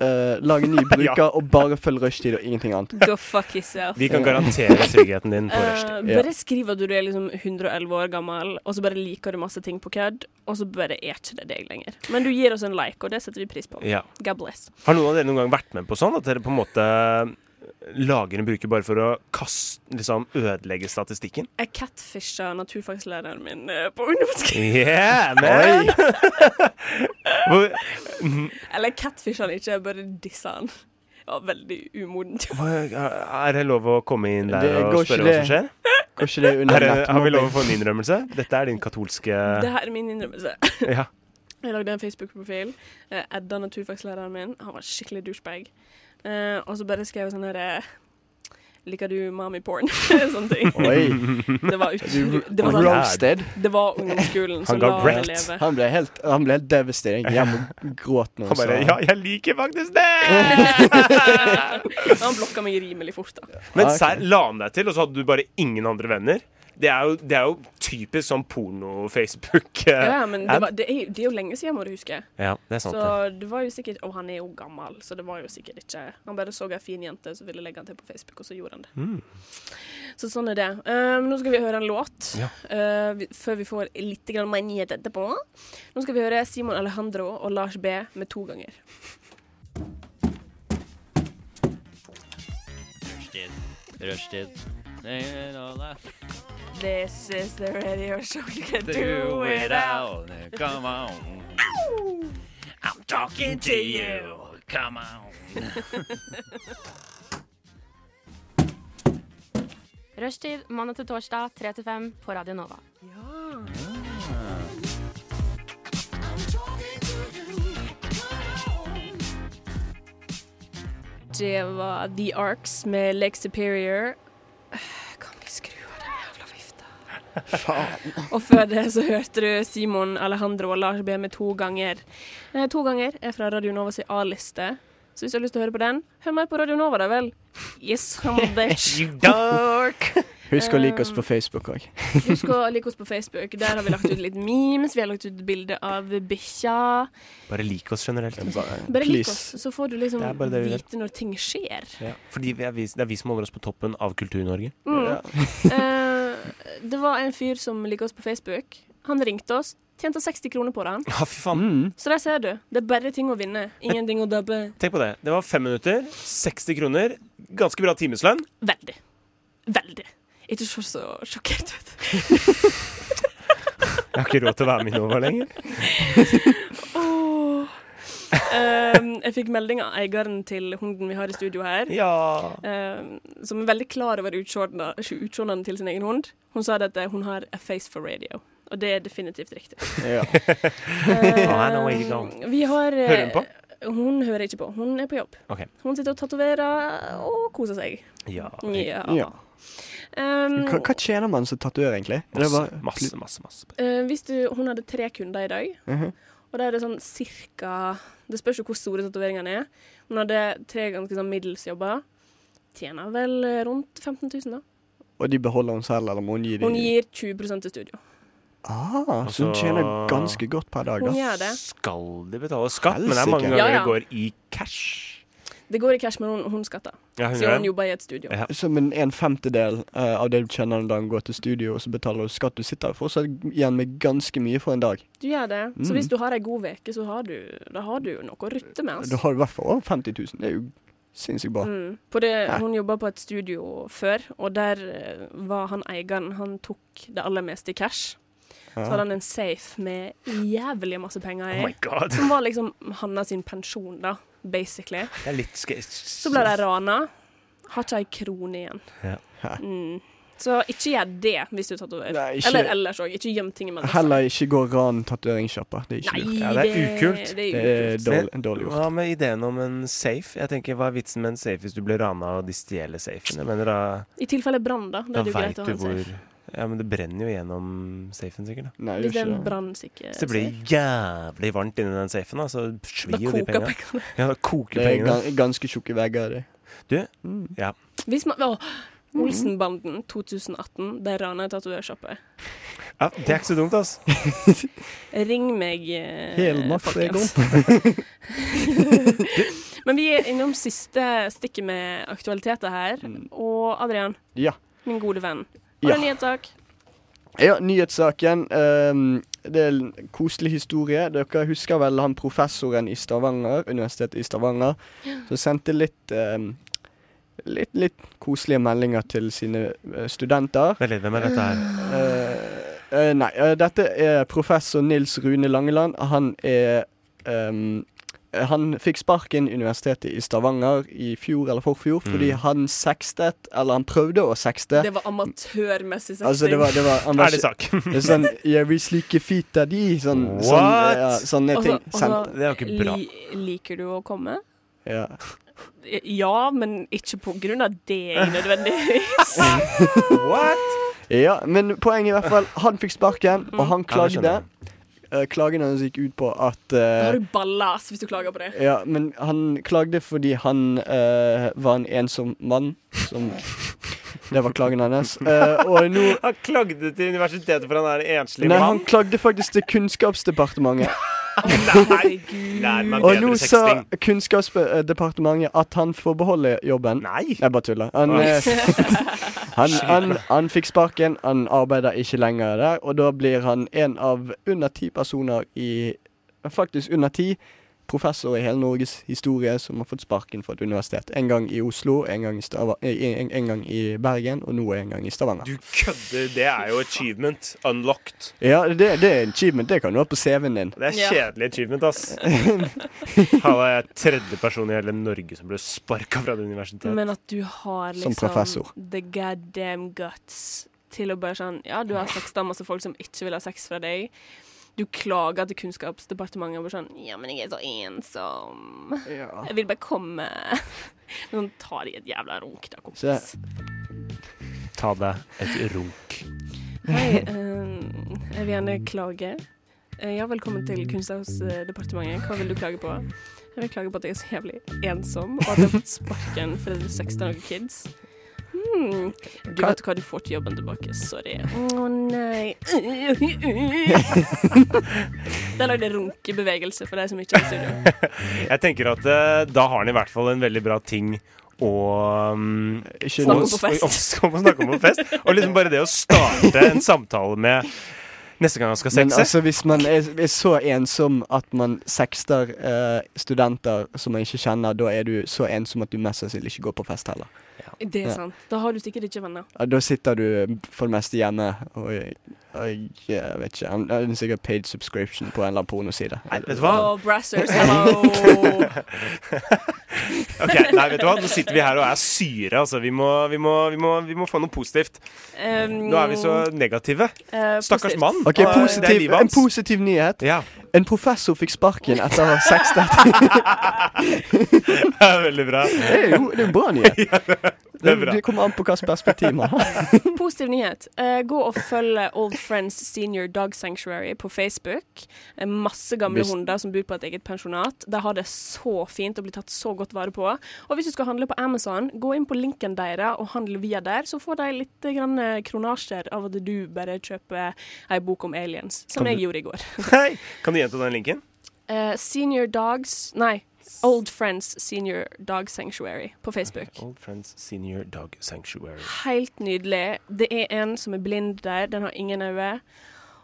eh, lag en ny bruker, og bare følg rushtid og ingenting annet. gjøre. Go fuck yourself. Vi kan garantere tryggheten din på Eh, rushtid. bare skriv at du er liksom 111 år gammel, og så bare liker du masse ting på kødd, og så bare er ikke det deg lenger. Men du gir oss en like, og det setter vi pris på. Eh. Ja. God bless. Har noen av dere noen gang vært med på sånn? At dere på en måte eh, lager en bruker bare for å kaste, liksom, ødelegge statistikken? Jeg catfisha naturfaglæreren min eh, på ungdomsskolen. Yeah, man! Hvor- Eller catfisha han ikke, jeg bare dissa han. Ja, veldig umodent. hva- Er det lov å komme inn der Det går og ikke spørre hva som det. skjer? Går ikke det under Er det, har vi nettmobbing? lov å få en innrømmelse? Dette er din katolske Det her er min innrømmelse. ja. Jeg lagde en Facebook-profil. eh, Edda, naturfaglæreren min, han var skikkelig douchebag. Eh, og så bare skrev jeg sånn her eh, Liker du mami-porn? Sånne ting. Oi. Det var utrolig. Det var, sånn, Roasted. det var ungdomsskolen som Han ga la det wrecked. leve. Han ble helt, han ble helt devastating. Jeg må gråte nå. Han bare så- Ja, jeg liker faktisk det! han blokka meg rimelig fort, da. Men Ja, ok. serr, la han deg til, og så hadde du bare ingen andre venner? Det er jo, det er jo typisk sånn porno-Facebook. eh, Ja, men det, ad. var, det, er, jo- det er jo lenge siden, må du huske. ja, det er sant. Så det. det var jo sikkert Og han er jo gammel, så det var jo sikkert ikke Han bare så ei fin jente som ville legge han til på Facebook, og så gjorde han det. Hmm. Så sånn er det. Um, nå skal vi høre en låt Ja. uh, vi, før vi får litt grann mer nyhet etterpå. Nå skal vi høre Simon Alejandro og Lars B med to ganger. Rushtid. Rushtid. They all laugh. This is the radio show you can Do it out. Come on. I'm talking to you. Come on. Rushtid mandag til torsdag 3 til 5 på Radio Nova. Det var The Arcs med Lake Superior. Kan vi skru av den jævla vifta? og før det så hørte du Simon Alejandro og Lars B med to ganger. Eh, to ganger er fra Radio Novas A-liste. Så hvis du har lyst til å høre på den, hør mer på Radio Nova, da vel. Yes, come on, bitch. You dark! Husk å like oss Eh. på Facebook òg. Husk å like oss på Facebook. Der har vi lagt ut litt memes. Vi har lagt ut bilde av bikkja. Bare lik oss generelt. Bare lik Please. oss, så får du liksom Det er bare det vi vite når ting skjer. Ja. Fordi vi er vi, det er vi som holder oss på toppen av Kultur-Norge. Mm. Eh, det var en fyr som liker oss på Facebook. Han ringte oss. Tjente 60 kroner på det. Ja, fy faen. Mm. Så der ser du. Det er bare ting å vinne. Ingenting å dabbe. Tenk på det. Det var fem minutter, 60 kroner, ganske bra timeslønn. Veldig. Veldig. Ikke se så sjokkert ut. Jeg har ikke råd til å være med i Nova lenger. Åh. Ehm, jeg fikk melding av eieren til hunden vi har i studio her, Ja. ehm, som er veldig klar over utsjående- utsjåendene til sin egen hund. Hun sa det at hun har a face for radio, og det er definitivt riktig. Ja. I know where you're Ehm, Eh, vi har eh, Hører hun på? Hun hører ikke på. Hun er på jobb. Ok. Hun sitter og tatoverer og koser seg. Ja. Ja. ja. Ehm, Hva, hva tjener man som tatoverer, egentlig? Er det Masse, bare- masse, masse. masse. eh, hvis du, hun hadde tre kunder i dag, Mhm. og da er det sånn cirka Det spørs jo hvor store tatoveringene er. Hun hadde tre ganske sånn middels jobber. Tjener vel eh, rundt 15 000, da. Og de beholder hun selv, eller må hun gi dem? Hun gir 20 til studio. Ah, Og så hun så- tjener ganske godt per dag, da. Hun gjør det. Skal de betale skatt? Men det er mange Helsike. ganger Ja, ja. det går i cash. Det går i cash, men hun, hun skatter. Ja, hun Siden gjør hun det. jobber i et studio. Ja. Som en, en femtedel eh, av det du tjener når du går til studio, og så betaler du skatt. Du sitter fortsatt igjen med ganske mye for en dag. Du gjør det. Så Mm. hvis du har ei god uke, så har du, da har du jo noe å rutte med. Altså. Da har du i hvert fall over 50 000. Det er jo sinnssykt bra. Mm. På det, Hæ? hun jobba på et studio før, og der eh, var han eieren. Han tok det aller meste i cash. Så hadde han en safe med jævlig masse penger Oh i, my god. som var liksom Hanna sin pensjon, da, basically. Det er litt ske... Så ble de rana. Har ikke ei krone igjen. Ja. Hæ? Mm. Så ikke gjør det hvis du er tatovert. Nei, ikke- Eller ellers òg. Ikke gjem ting i madrassen. Heller ikke gå ran tatoveringssjappa. Det er ikke lurt. Nei, Ja, det er ukult. Det Det er er ukult. dårlig, dårlig gjort. Hva med ideen om en safe? Jeg tenker, Hva er vitsen med en safe hvis du blir rana og de stjeler safen? Jeg mener, da, I tilfelle brann, da. Da da er det jo greit veit du å ha en hvor safe. Ja, men det brenner jo gjennom safen, sikkert. da Nei, Hvis det det er er en jo ikke det. brannsikker Hvis det blir safe. jævlig varmt inni den safen, da, så Da svir jo de koker pengene. pengene. Ja, da koker Det er pengene. gan- ganske tjukke vegger, det. Du? Mm. Hvis man, å, Mhm. Olsenbanden 2018, de rana ei tatoversjappe. Ja, det er ikke så dumt, altså. Ring meg, eh, Hel natt, folkens. Men vi er innom siste stikket med aktualiteter her. Og Adrian, Mm. Ja. min gode venn. Har du Ja. en nyhetssak? Ja, nyhetssaken. ehm, det er en koselig historie. Dere husker vel han professoren i Stavanger, Universitetet i Stavanger, som sendte litt ehm, Litt, litt koselige meldinger til sine eh, studenter. Vent litt, hvem er dette her? Eh, eh, nei, eh, dette er professor Nils Rune Langeland. Han er ehm, eh, Han fikk sparken i Universitetet i Stavanger i fjor eller forfjor Mm. fordi han sextet, eller han prøvde å sexte. Det var amatørmessig sexting. Altså, det var, det var, han var Er det ikke- sak? det er sånn Jeg vil slike fita di. Sånn, sånn, What? ja, sånne Og så- ting. og så- Sendt- Det er jo ikke bra. Altså, Li- liker du å komme? ja. Ja, men ikke på grunn av det nødvendigvis. What? ja, men poenget i hvert fall Han fikk sparken, Mm. og han Ja, det klagde. Eh, Klagen hans gikk ut på at Da eh, har du ballas hvis du klager på det. Ja, men han klagde fordi han eh, var en ensom mann. Som Det var klagen hans. Eh, og nå Han klagde til universitetet for han er en enslig Nei, han mann. klagde faktisk til Kunnskapsdepartementet. Lær meg Og nå bedre sa sexting. Kunnskapsdepartementet at han får beholde jobben. Nei! Jeg bare tuller. Han, Oi. eh, han, han, han fikk sparken, han arbeider ikke lenger der, og da blir han en av under ti personer i Faktisk under ti professorer i hele Norges historie som har fått sparken fra et universitet. En gang i Oslo, en gang i, Stava, eh, en, en gang i Bergen, og nå en gang i Stavanger. Du kødder. Det er jo achievement unlocked. Ja, det, det er en achievement. Det kan du ha på CV-en din. Det er Ja. kjedelig achievement, ass. Han er tredje person i hele Norge som ble sparka fra det universitetet. Men at du har Som liksom professor. the goddamn guts til å bare sånn Ja, du har sex med masse folk som ikke vil ha sex fra deg. Du klager til Kunnskapsdepartementet og bare sånn Ja, men jeg er så ensom. Jeg vil bare komme. Men sånn, ta deg et jævla runk, da, kompis. Ta deg et runk. Hei, eh, jeg vil gjerne klage. Eh, ja, velkommen til Kunnskapsdepartementet. Hva vil du klage på? Jeg vil klage på at jeg er så jævlig ensom, og at jeg har fått sparken fordi jeg sexta noen kids. Mm. Du Hva- vet hva, du får til jobben tilbake. Sorry. Å nei. Der lagde jeg runkebevegelse for deg som ikke er i studio. Jeg tenker at eh, da har han i hvert fall en veldig bra ting å um, Ikke Snakke noe- om på fest. å- å- å snakke om på fest. Og liksom bare det å starte en samtale med neste gang han skal Men sexe. altså, hvis man er, er så ensom at man sexter eh, studenter som man ikke kjenner, da er du så ensom at du mest sannsynlig ikke går på fest heller. Det er Ja. sant. Da har du sikkert ikke venner. Ja, Da sitter du for det meste hjemme og, og jeg vet ikke Han har sikkert paid subscription på en eller annen pornoside. Nei, vet du hva? Og Oh, brassers, hello! Ok, nei, vet du hva? Nå sitter vi her og er syre, altså. Vi må, vi må, vi må, vi må få noe positivt. Um, Nå er vi så negative. eh, Stakkars positivt. mann. Og, eh, OK, det er positiv, livet en hans. positiv nyhet. Ja, En professor fikk sparken etter å ha sextet. det er veldig bra. Det er jo det er en bra nyhet. Det er bra. Det kommer an på hvilket perspektiv man har. Positiv nyhet. Eh, gå og følg Old Friends Senior Dog Sanctuary på Facebook. Eh, masse gamle Hvis- hunder som bor på et eget pensjonat. De har det så fint og blir tatt så godt vare på. Og hvis du skal handle på Amazon, gå inn på linken deres og handle via der, så får de litt grann eh, kronasjer av at du bare kjøper ei bok om aliens, som Kan du- jeg gjorde i går. Hei, kan du gjenta den linken? Eh, senior Dogs Nei. Old Friends Senior Dog Sanctuary på Facebook. Old Friends Senior Dog Sanctuary. Helt nydelig. Det er en som er blind der, den har ingen øyne.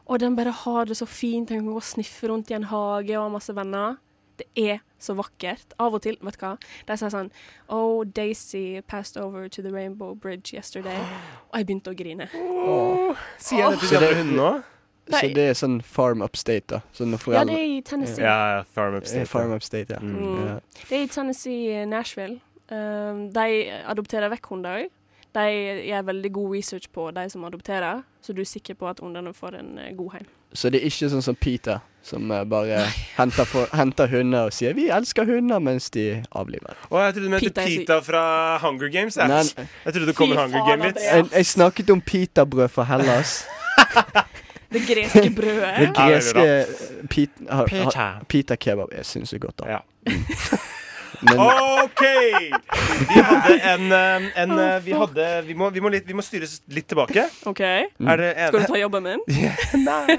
Og den bare har det så fint. Den kan gå og sniffe rundt i en hage og ha masse venner. Det er så vakkert. Av og til, vet du hva, de sier sånn Oh, Daisy passed over to the Rainbow Bridge yesterday. Og jeg begynte å grine. Sier jeg det til de andre hundene nå? Så det er sånn farm upstate, da. Så Ja, når det foreldre er i Tennessee. Ja, ja, Farm Eh, Upstate. Farm upstate, ja. Mm. ja. Det er i Tennessee, eh, Nashville. Um, de adopterer vekk hunder òg. De gjør veldig god research på de som adopterer, så du er sikker på at hundene får en eh, god heim. Så det er ikke sånn som Peter, som eh, bare henter, for, henter hunder og sier 'vi elsker hunder', mens de avliver. Å, jeg trodde du mente Pita er Pita fra Hunger Games. Jeg, Nei, jeg trodde det kom Fy en Hunger faen, Game-vits. Andrea. jeg, jeg snakket om pitabrød fra Hellas. Det greske brødet. Det Ja, det er greske eh, pit, har- har- Pita. Pita kebab jeg syns er godt, da. Ja. Men OK! Vi hadde en, eh, en eh, Vi hadde Vi må, vi må, litt, vi må styres litt tilbake. OK. Mm. Er det Skal du en ta jobben min? Nei,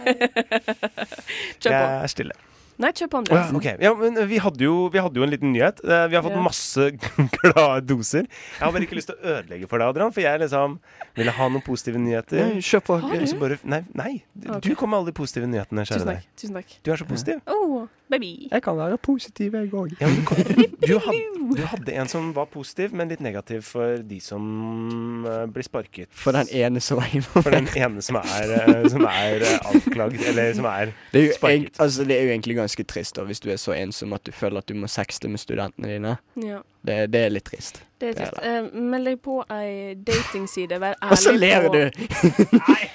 jeg Kjør på. er stille. Nei, kjør på, Ja, Andreas. ok. ja, men eh, vi hadde, jo, vi hadde jo en liten nyhet. Eh, Vi har fått Ja. masse glade doser. Jeg har bare ikke lyst til å ødelegge for deg, Adrian, for jeg liksom ville ha noen positive nyheter. eh, kjør på. Har Så bare, nei, nei, du Ok. du kom med alle de positive nyhetene. Kjære Tusen deg. takk. Tusen takk. Du er så positiv. Oh, baby. Jeg kan være positiv, jeg òg. Ja, men du, kom, du, hadde, du hadde en som var positiv, men litt negativ for de som eh, blir sparket. For den ene som var innom. For den ene som er, eh, som er eh, anklagd, eller som er Det er, jo Sparket. egentlig, altså, det er jo egentlig ganske trist da, hvis du er så ensom at du føler at du må sexte med studentene dine. Ja, Det, det er litt trist. det er Det er trist. Eh, meld deg på ei datingside. Vær ærlig. Og så ler på- du!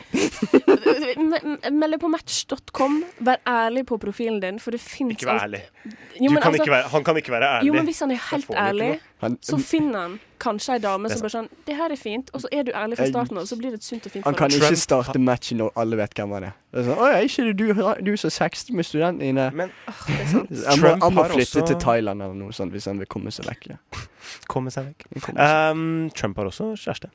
M- m- Meld deg på match.com. Vær ærlig på profilen din, for det fins Ikke vær ærlig. Jo, Du men kan altså- ikke være, han kan ikke være ærlig. Jo, men hvis han er helt får vi ikke Mm. ærlig, Han, så finner han kanskje ei dame Det er som bare sånn 'Det her er fint', og så er du ærlig fra Jeg- starten av, så blir det et sunt og fint han kan forhold. ikke Trump- starte matchen når alle vet hvem han er. Det er sånn, Åja, ikke det du, du som sexte med studentene dine? Men Det er sant. Han må, Trump han må har flytte også- til Thailand eller noe sånt hvis han vil komme seg vekk. Ja. komme seg vekk. Han kommer seg- Ehm, Trump har også kjæreste.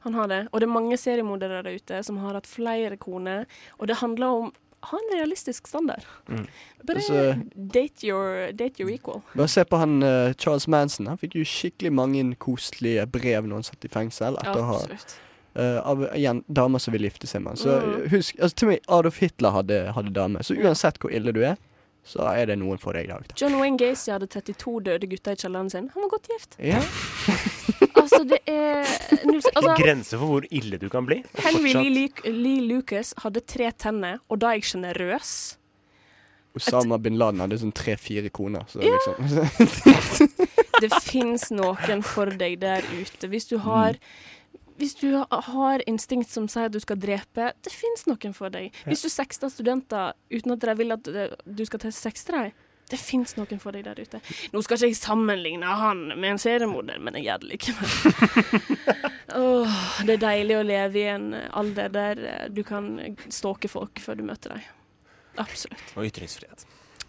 Han har det. Og det er mange seriemordere der ute som har hatt flere koner, og det handler om ha en realistisk standard. Mm. Bare Altså- date, your, date your equal. Bare se på han eh, Charles Manson. Han fikk jo skikkelig mange koselige brev når han satt i fengsel. Etter å ha Absolutt. eh, av igjen, damer som vil gifte seg med han. Så Mm. eh, husk, altså, til og med Adolf Hitler hadde, hadde dame. Så uansett hvor ille du er, så er det noen for deg i dag. Da. John Wayne Gacy hadde 32 døde gutter i kjelleren sin. Han var godt gift. Ja. Altså, det er null altså, Grense for hvor ille du kan bli. og Henry fortsatt- Lee, Lu- Lee Lucas hadde tre tenner, og da er jeg sjenerøs. Osama bin Laden hadde sånn tre-fire koner. Så liksom Det fins noen for deg der ute. Hvis du har hvis du ha- har instinkt som sier at du skal drepe, det fins noen for deg. Hvis du sexter studenter uten at de vil at eh, du skal til sexte dem, det fins noen for deg der ute. Nå skal ikke jeg sammenligne han med en seriemorder, men jeg gjør det likevel. Åh, det er deilig å leve i en alder der eh, du kan stalke folk før du møter dem. Absolutt. Og ytringsfrihet.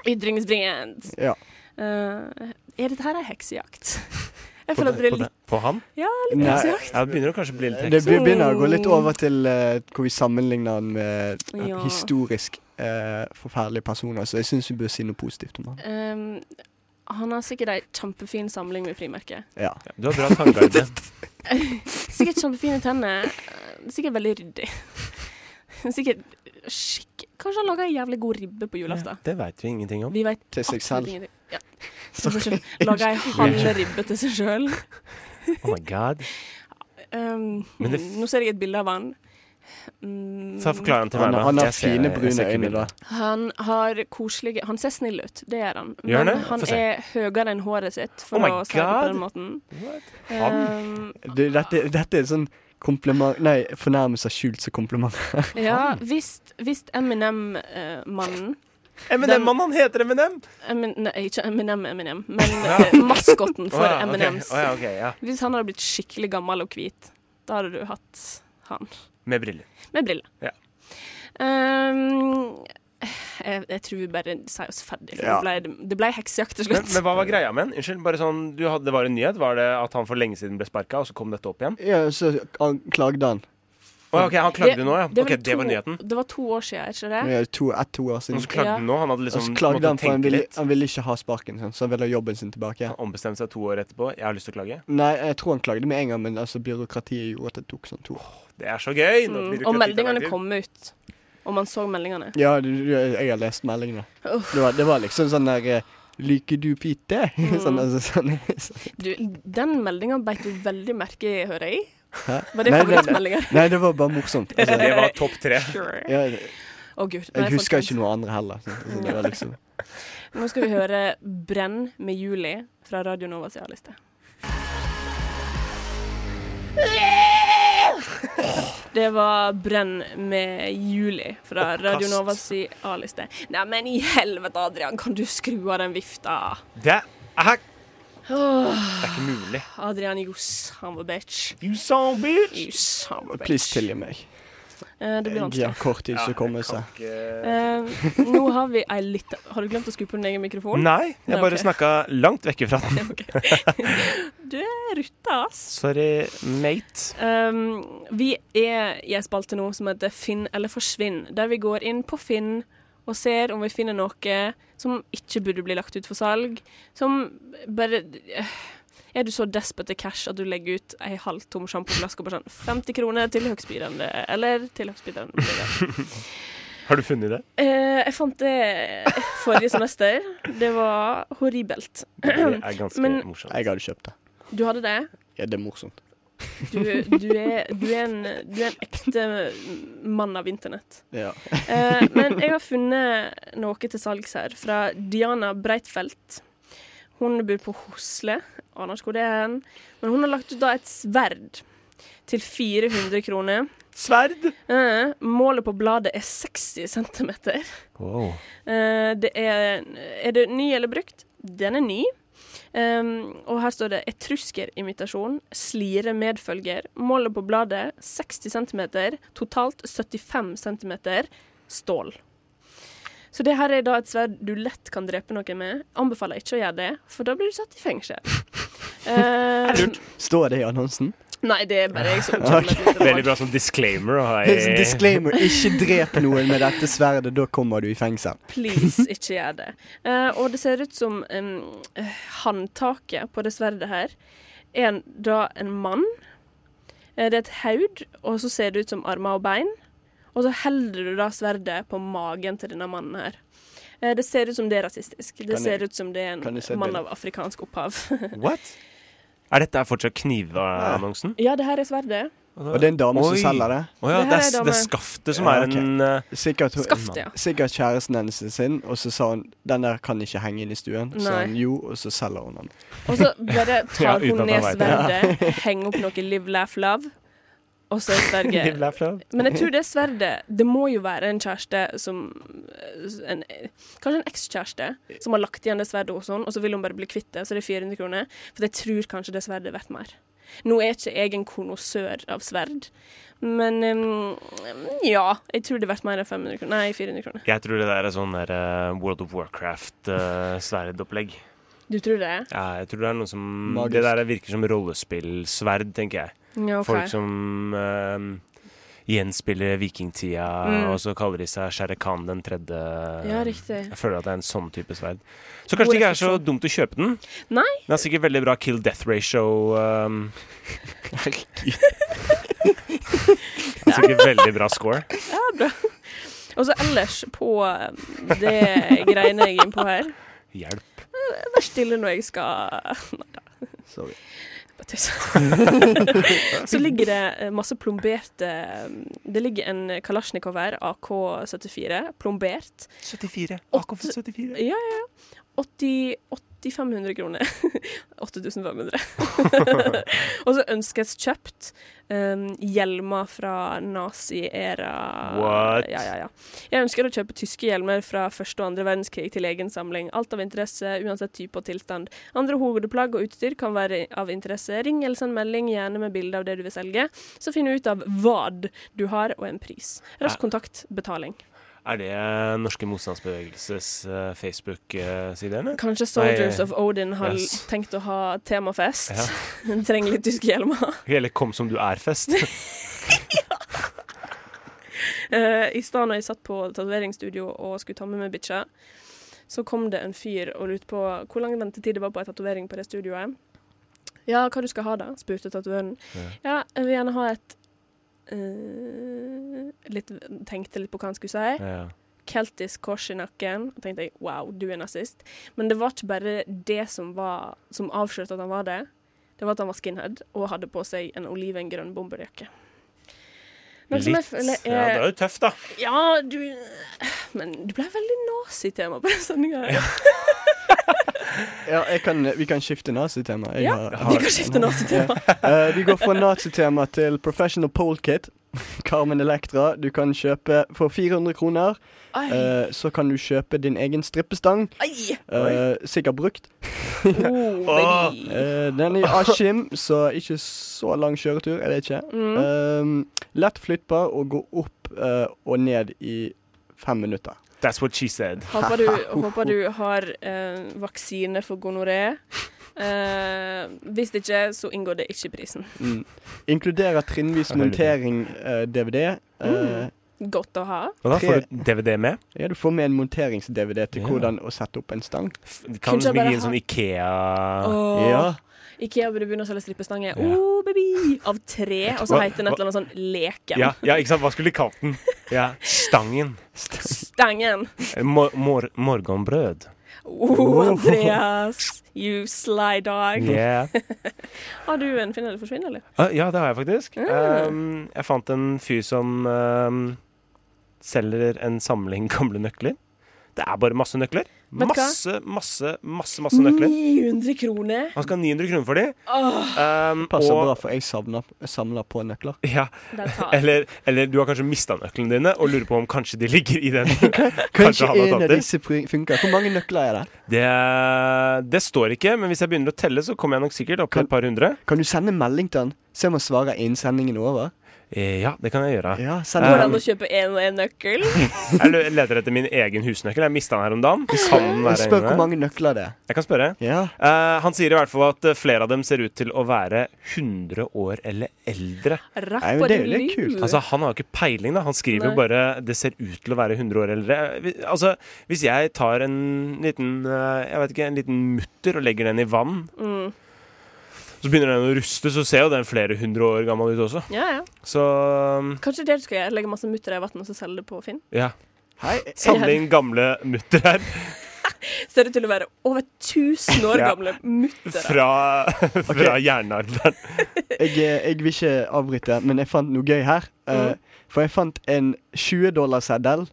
Ytringsfrihet. Ja. Eh, er dette her ei heksejakt? Jeg føler at det er litt På han? Nei, heksejakt. Ja, det begynner å kanskje å bli litt det heks. be- begynner å gå litt over til eh, hvor vi sammenligner den med Ja. historisk eh, forferdelige personer, så jeg syns vi bør si noe positivt om han. Ehm, han har sikkert ei kjempefin samling med frimerker. Ja. Du har bra tankearbeid. Sikkert kjempefine tenner. eh, Sikkert veldig ryddig. Sikkert skikk... Kanskje han laga ei jævlig god ribbe på julaften. Det veit vi ingenting om. Vi veit Til seg selv. absolutt ingenting. Ja. Så kanskje laga ei halv ribbe til seg sjøl. Oh my god. Um, Men det- nå ser jeg et bilde av han. Mm, Så forklar han til meg, Han, da. han har Jeg ser- fine jeg ser brune ikke øyne, da. bildet. Han har koselige Han ser snill ut, det gjør han. Gjør han Men det? han Få se. er høyere enn håret sitt, for Oh my å si det på God. den måten. What? Um, Det, dette, dette er en sånn kompliment Nei, fornærmelse skjult som kompliment. ja, hvis, hvis Eminem-mannen Eminem-mannen, han heter Eminem! Emin, Nei, ikke Eminem, Eminem, men eh, maskotten Å for ja, ok. Eminems. Å ja, ok, ja. Hvis han hadde blitt skikkelig gammel og hvit, da hadde du hatt han. Med briller. Med briller. Ja. Um, jeg, jeg tror vi bare sier oss ferdig, for Ja. det ble, det ble heksejakt til Men, slutt. men hva var greia med den? Unnskyld, bare sånn, du hadde, det var en nyhet? Var det at han for lenge siden ble sparka, og så kom dette opp igjen? Ja, så han klagde han. Å, ok, Han klagde nå, ja. var Ok, vel det var to- nyheten. Det var to år siden, er ikke det? Ja, to, ett, to år Og siden. så klagde Ja. han nå. Han hadde Og liksom så måttet klagde han, for han tenke ville, litt. han ville ikke ha sparken, sånn, så han ville ha jobben sin tilbake. Han ombestemte seg to år etterpå. Jeg har lyst til å klage. Nei, jeg tror han klagde med en gang, men altså, byråkratiet gjorde at det tok sånn to år. Det er så gøy! når Mm. byråkratiet Og tar meldingene tid. kom ut. Og man så meldingene. Ja, du, du, jeg har lest meldingene. Uff. Det var, det var liksom sånn der eh, Liker du pite? Mm. sånn, altså, sånn. Du, den meldinga beit du veldig merke i, hører jeg. Hæ? Var det Nei, nei, favorittmeldinga? Nei, det var bare morsomt. Altså, Det var topp tre. Sure. ja, jeg Å, gud. jeg Nei, husker folkens. ikke noe andre heller. Så, så det var liksom Nå skal vi høre 'Brenn med Julie' fra Radio Novas A-liste. Det var 'Brenn med Julie' fra Radio Novas A-liste. Nei, men i helvete, Adrian, kan du skru av den vifta? Det er, Åh, det er ikke mulig. Adrian, you son of a bitch. You son bitch! You son of a bitch. Please tilgi meg. Eh, Det blir Jeg vanskelig. har kort tid til å komme seg. Eh, nå har vi ei lita Har du glemt å skru på din egen mikrofon? Nei, jeg Nei, bare ok. snakka langt vekk ifra den. Du er rutta, ass. Sorry, mate. Um, vi er i en spalte nå som heter Finn eller forsvinn, der vi går inn på Finn og ser om vi finner noe som ikke burde bli lagt ut for salg. Som bare øh, Er du så desperat til cash at du legger ut ei halvtom sjampoflaske og bare sånn 50 kroner til høgstbydende, eller til høgstbydende? blir det. Har du funnet det? Eh, jeg fant det forrige semester. Det var horribelt. Det er ganske Men- morsomt. Jeg hadde kjøpt det. Du hadde det? Ja, det er morsomt. Du, du, er, du, er, en, du er en ekte mann av internett. Ja. Eh, men jeg har funnet noe til salgs her fra Diana Breitfeldt. Hun bor på Hosle, aner ikke hvor det er hen. Men hun har lagt ut da et sverd til 400 kroner. Sverd! Eh, målet på bladet er 60 cm. Wow. Eh, det er Er det ny eller brukt? Den er ny. Ehm, og her står det 'Etruskerimitasjon. Slire medfølger'. Målet på bladet 60 cm. Totalt 75 cm stål. Så det her er da et sverd du lett kan drepe noen med. Anbefaler ikke å gjøre det, for da blir du satt i fengsel. Ehm, Står det i annonsen? nei, det er bare jeg som kommer med det. Veldig bra som disclaimer. å ha i- Disclaimer, ikke drep noen med dette sverdet, da kommer du i fengsel. Please, ikke gjør det. Eh, og det ser ut som em, eh, håndtaket på det sverdet her er en, da en mann. Eh, det er et haud, og så ser det ut som armer og bein. Og så holder du da sverdet på magen til denne mannen her. Eh, det ser ut som det er rasistisk. Det Kan jeg- ser ut som det er kan jeg se en mann bildet? av afrikansk opphav. What? Er dette fortsatt knivannonsen? ja, det her er sverdet. Og det er en dame som Oi. selger det. Å ja, Det her det er er, dame. det er skaftet som Ja, er ok. en eh, Sikkert, hun- Skaft, ja. sikkert kjæresten hennes sin, og så sa hun den der kan ikke henge inn i stuen. Så Nei. han jo, og så selger hun den. Og så bare Ja, tar uten at han hun ned vet sverdet, henger opp noe live, laugh, love, og så er sverdet Men jeg tror det sverdet Det må jo være en kjæreste som eh, en, Kanskje en ekskjæreste som har lagt igjen det sverdet hos henne, og så vil hun bare bli kvitt det, så det er 400 kroner. For jeg tror kanskje det sverdet er verdt mer. Nå er ikke jeg en konnoissør av sverd, men mm, ja. Jeg tror det er verdt mer enn 500 kroner. Nei, 400 kroner. Jeg tror det der er sånn der, eh, World of Warcraft-sverdopplegg. Du tror det? eh, Ja, jeg tror det er noe som Magisk. Det der virker som rollespillsverd, tenker jeg. Ja, ok. Folk som eh, gjenspiller vikingtida, Mm. og så kaller de seg Shere Khan den tredje. Ja, riktig. Jeg føler at det er en sånn type sverd. Så kanskje det ikke er så dumt å kjøpe den. Nei. Den har sikkert veldig bra kill death ratio. ehm, sikkert veldig bra score. Og så ellers på eh, det greiene jeg er inne på her Hjelp. Vær stille når jeg skal Sorry. Bare tøys. Så ligger det eh, masse plomberte eh, Det ligger en Kalasjnikov her, AK-74, plombert. 74. Åtte- AK-74. Ja, ja, ja. 80 8500 kroner. 8500. Og så ønskes kjøpt um, hjelmer fra nazi-æra. What? Ja, ja, ja. Jeg ønsker å kjøpe tyske hjelmer fra første og andre verdenskrig til egen samling. Alt av interesse, uansett type og tilstand. Andre hovedplagg og utstyr kan være av interesse. Ring eller send melding, gjerne med bilde av det du vil selge. Så finn ut av hva du har, og en pris. Rask kontakt, betaling. Er det Norske motstandsbevegelses eh, Facebook-side, eller? Kanskje Soldiers Nei, of Odin har yes. tenkt å ha temafest. Ja. Den Trenger litt tyske hjelmer. Eller Kom som du er-fest? Eh, I stad når jeg satt på tatoveringsstudio og skulle ta med meg bikkja, så kom det en fyr og lurte på hvor lang ventetid det var på en tatovering på det studioet. Ja, hva du skal ha da? spurte tatovøren. Ja, jeg vil gjerne ha et eh, litt, Tenkte litt på hva han skulle si. ja. keltisk kors i nakken. Og tenkte jeg wow, du er nazist. Men det var ikke bare det som, var, som avslørte at han var det. Det var at han var skinhead og hadde på seg en olivengrønn bomberjakke. Noe som jeg føler Ja, det er eh, er jo tøft, da. Ja, du Men du ble veldig nazitema på den sendinga. Ja, jeg kan, vi kan skifte nazitema. Jeg Ja, har- vi har- kan skifte nazitema. Eh, vi går fra nazitema til professional polekit. Carmen Electra. Du kan kjøpe for 400 kroner. Ai, eh, så kan du kjøpe din egen strippestang. ai. eh, sikkert brukt. Oh, baby. Ah. Eh, den er i Askim, så ikke så lang kjøretur. Jeg vet ikke. Mm. Eh, lett flyttbar og gå opp eh, og ned i fem minutter. That's what she said. Håper du, håper du har eh, vaksine for gonoré. Eh, hvis ikke, så inngår det ikke i prisen. Mm. Inkluderer trinnvis montering eh, DVD. Eh, Godt å ha. Og da får du DVD med. ja, du får med en monterings-DVD til Ja. hvordan å sette opp en stang. F- Du kan Kanskje liksom ikke bare gi en sånn ha- Ikea Åh. Ikea burde begynne å selge strippestanger. Ja. Oh, baby! Av tre. Og så Hva- heter den et eller annet sånn Leken. ja, ja, ikke sant? Hva skulle de kalt den? Ja, Stangen. Eh, Stangen. Mor mor morgenbrød. Oh, Andreas. You sly dog. Yeah. Har du en finn eller forsvinn, eller? Ah, Ja, det har jeg faktisk. Mm. Um, jeg fant en fyr som um, selger en samling gamle nøkler. Det er bare masse nøkler. Vet du hva? Masse, masse, masse masse nøkler. 900 kroner. Han skal ha 900 kroner for de. Åh, Um, Passer og- bra, for jeg savner, jeg samler på nøkler. Ja, den tar. eller, eller du har kanskje mista nøklene dine og lurer på om kanskje de ligger i den. Kanskje Kanskje han har en tatt av det. disse fun- funker. Hvor mange nøkler er det? Det, det står ikke, men hvis jeg begynner å telle, så kommer jeg nok sikkert opp på et par hundre. Kan du sende melding til han? Se om han svarer innen sendingen er over. Eh, Eh, Ja, det kan jeg gjøre. Ja, send Går det melding. an å kjøpe én og én nøkkel? Jeg le- leter etter min egen husnøkkel. Jeg mista den her om dagen. Kan den være Spør hvor inne? mange nøkler det er. Jeg kan spørre. Ja. Eh, han sier i hvert fall at eh, flere av dem ser ut til å være 100 år eller eldre. Rapp Nei, men og det er jo din litt kult. lue. Altså, Han har jo ikke peiling, da. Han skriver jo Nei. bare 'det ser ut til å være 100 år eldre'. Vi- Altså, Hvis jeg tar en liten eh, jeg vet ikke, en liten mutter og legger den i vann, Mm. så begynner den å ruste, så ser jo den flere hundre år gammel ut også. Ja, ja. Så um, Kanskje det du skal gjøre, legge masse mutter i vann og så selge det på Finn? ja. Hei. Samle inn gamle mutter her Ser ut til å være over 1000 år Ja. gamle muttere. fra, fra jernalderen. Jeg, eh, jeg vil ikke avbryte, men jeg fant noe gøy her. Eh, For jeg fant en 20 dollar seddel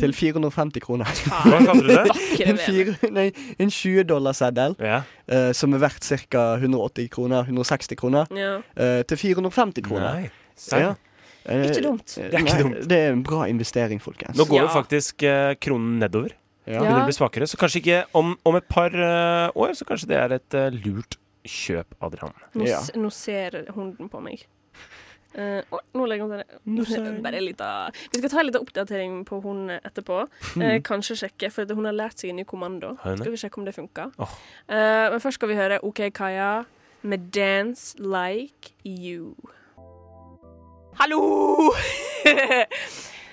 til 450 kroner. Ah, Hva kalte du det? Vakre En, vener. fire, nei, en 20 dollar seddel Ja. eh, som er verdt ca. 180 kroner, 160 kroner, Ja. eh, til 450 kroner. Nei. Ja. Eh, Ikke dumt. eh, Det er ikke nei, dumt. Det er en bra investering, folkens. Nå går jo Ja. faktisk eh, kronen nedover. Ja. Begynner å bli svakere. Så kanskje ikke om, om et par eh, år, så kanskje det er et eh, lurt kjøp, Adrian. Nå, Ja. s- nå ser hunden på meg. Eh, å, nå legger hun til det. Bare litt av. Vi skal ta en liten oppdatering på hun etterpå. Eh, kanskje sjekke, for at hun har lært seg en ny kommando. Har hun det? Skal vi sjekke om det funker. Åh. Eh, men først skal vi høre OK Kaja med 'Dance Like You'. Hallo!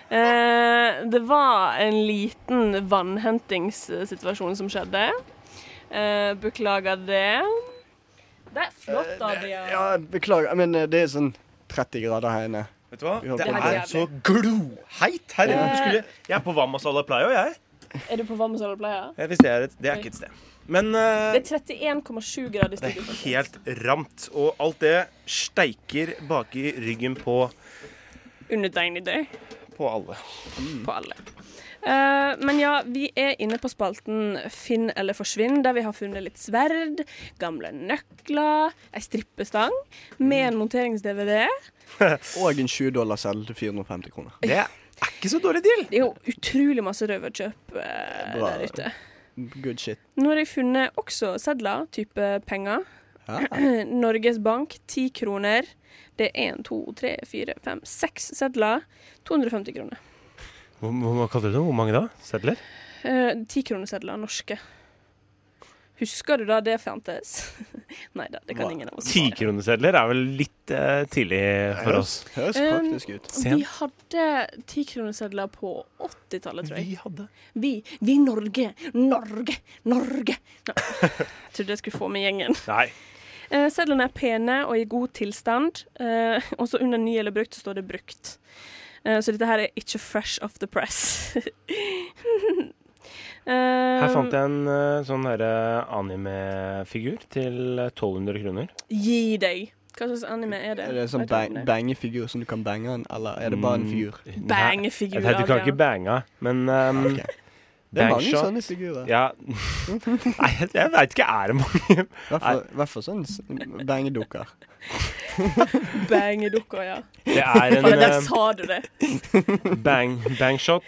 Eh, det var en liten vannhentingssituasjon som skjedde. Eh, beklager det. Det er flott, Adrian. Ja, beklager, men eh, det er sånn 30 grader her inne. Vet du hva? Vi har Det på er det. så gloheit her inne. Du skulle- Jeg er på Vamasala Playo, jeg. Er du på varme solarpleie? jeg. Hvis det er et Det er ikke et sted. Men eh, Det er 31,7 grader i det studio. er faktisk. helt ramt. Og alt det steiker baki ryggen på, Undertegnede på alle. på alle. Eh, men ja, vi er inne på spalten Finn eller forsvinn, der vi har funnet litt sverd, gamle nøkler, ei strippestang med en monterings-DVD. Og en 20 dollar selv til 450 kroner. Det er ikke så dårlig deal. Det er jo utrolig masse røverkjøp eh, Bra. der ute. Good shit. Nå har jeg funnet også sedler, type penger. Ja. Norges Bank, 10 kroner. Det er 1, 2, 3, 4, 5, 6 sedler. 250 kroner. Hvor, hva kaller du det? Hvor mange da? Sedler? Eh, Tikronesedler, norske. Husker du da det fantes? Nei da, det kan ingen av oss. svare. Tikronesedler er vel litt eh, tidlig for oss. Høres Um, praktisk ut. Vi hadde tikronesedler på 80-tallet, tror jeg. hadde Vi, vi Norge, Norge, Norge. Nei, Jeg trodde jeg skulle få med gjengen. Nei. Eh, Sedlene er pene og i god tilstand. Eh, også under ny eller brukt så står det brukt. Eh, så dette her er ikke fresh off the press. Eh, Her fant jeg en eh, sånn derre anime-figur til eh, 1200 kroner. Gi deg. Hva slags anime er det? Er det en sånn Vet du hva bang, det er? bangefigur som du kan bange den, eller er det bare Mm. en figur? Nei, Bang-figur. jeg vet, Du kan Adrian. ikke banga, men um, Ok. Det er mange sånne figurer. Ja. Nei, jeg, jeg veit ikke. Er det mange? I hvert fall- i hvert fall sånne sånn s- bangedukker. Bang-dukka, ja. Det er en Faen, der eh, sa du det. bang, bang shot.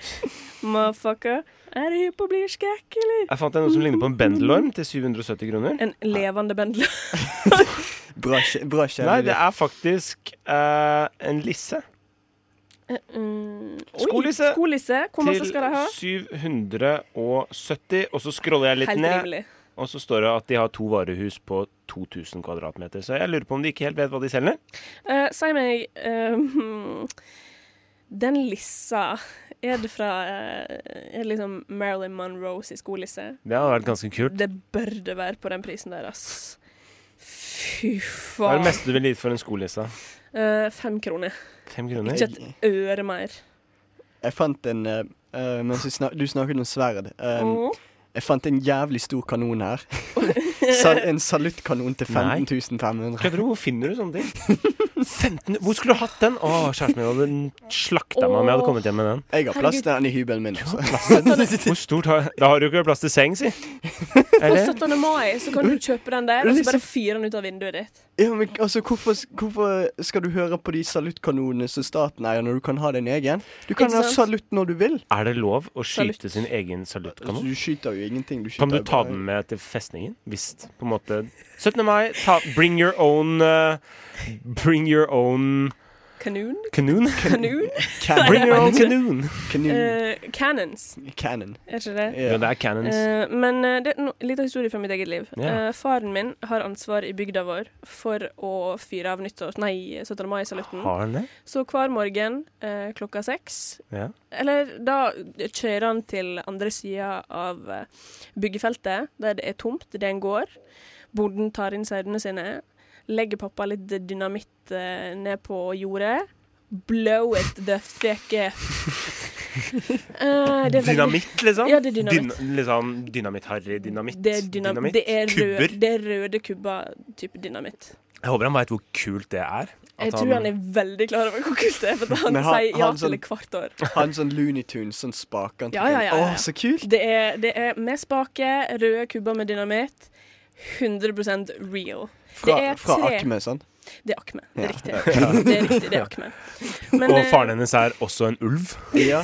Motherfucker. Er du hypp på å bli skrekkelig? Jeg fant en som ligner på en bendelorm til 770 kroner. En levende bendler. Bra, kje- bra kjære. Nei, det er faktisk eh, en lisse Mm, oi, Skolisse. Skolisse. til Hvor masse skal de ha? 770. Og så scroller jeg litt Helt ned, rimelig. og så står det at de har to varehus på 2000 kvadratmeter. Så jeg lurer på om de ikke helt vet hva de selger. Eh, si meg eh, hmm, Den lissa Er det fra eh, Er det liksom Marilyn Monroe sin skolisse? Det hadde vært ganske kult. Det bør det være på den prisen der, ass. Fy Hva er det faen. meste du ville gitt for en skolisse? Eh, fem kroner. Fem kroner? Ikke et øre mer. Jeg fant en eh, eh, Mens vi snak, du snakket om sverd. eh, Åh. Jeg fant en jævlig stor kanon her. Sal en saluttkanon til Nei. 15500. Kødder du? Hvor finner du sånne ting? 15, hvor skulle du hatt den? Å, kjæresten min hadde slakta meg om jeg hadde kommet hjem med den. Jeg har plass til den i hybelen min. Altså. Hvor stort har Da har du ikke plass til seng, si. På Eller? 17. mai så kan du kjøpe den der, og så Liksom- bare fyre den ut av vinduet ditt. Ja, men altså, hvorfor, hvorfor skal du høre på de saluttkanonene som staten eier, når du kan ha din egen? Du kan Ikke ha sant? salutt når du vil. Er det lov å Salutt. skyte sin egen Altså, saluttkanon? du skyter jo ingenting. Du skyter Kan du jo ta bare- den med til festningen? Hvis på en måte 17. mai, ta, bring your own eh, Bring your own Kanon? Kanon? Kanon? Bring your own kanon! Cannon. Kanon. Eh, cannons, Cannon. er ikke det? Ja, Ja. det er cannons. Eh, men eh, det er no, litt av historie fra mitt eget liv. Ja. Eh, faren min har ansvar i bygda vår for å fyre av nyttårs... Nei, 17. mai-salutten. Har den det? Så hver morgen eh, klokka seks Ja. Eller da kjører han til andre sida av eh, byggefeltet, der det er tomt, det er en gård. Bonden tar inn sauene sine, legger pappa litt dynamitt eh, ned på jordet. Blow it the fuck up. Eh, det er veldig- Dynamitt, liksom? Ja, det er dynamitt. Dyn, liksom Dynamitt-harry, dynamitt. Det er dynamitt. Det er, Kubber. rød, det er røde kubber type dynamitt. Jeg håper han veit hvor kult det er. Jeg tror han er veldig klar over hvor kult det er, for han, Men han- sier ja han til sånn- det hvert år. Ha en sånn Looney Tunes, sånn spaken. Ja, ja, ja, ja. Å, så kult! Det er, det er med spake, røde kubber med dynamitt. 100 real. Fra, det er fra tre- Akme, sant? Det er Akme. Det er Ja. riktig. Det er riktig, det er Akme. Men, Og eh, faren hennes er også en ulv. Ja.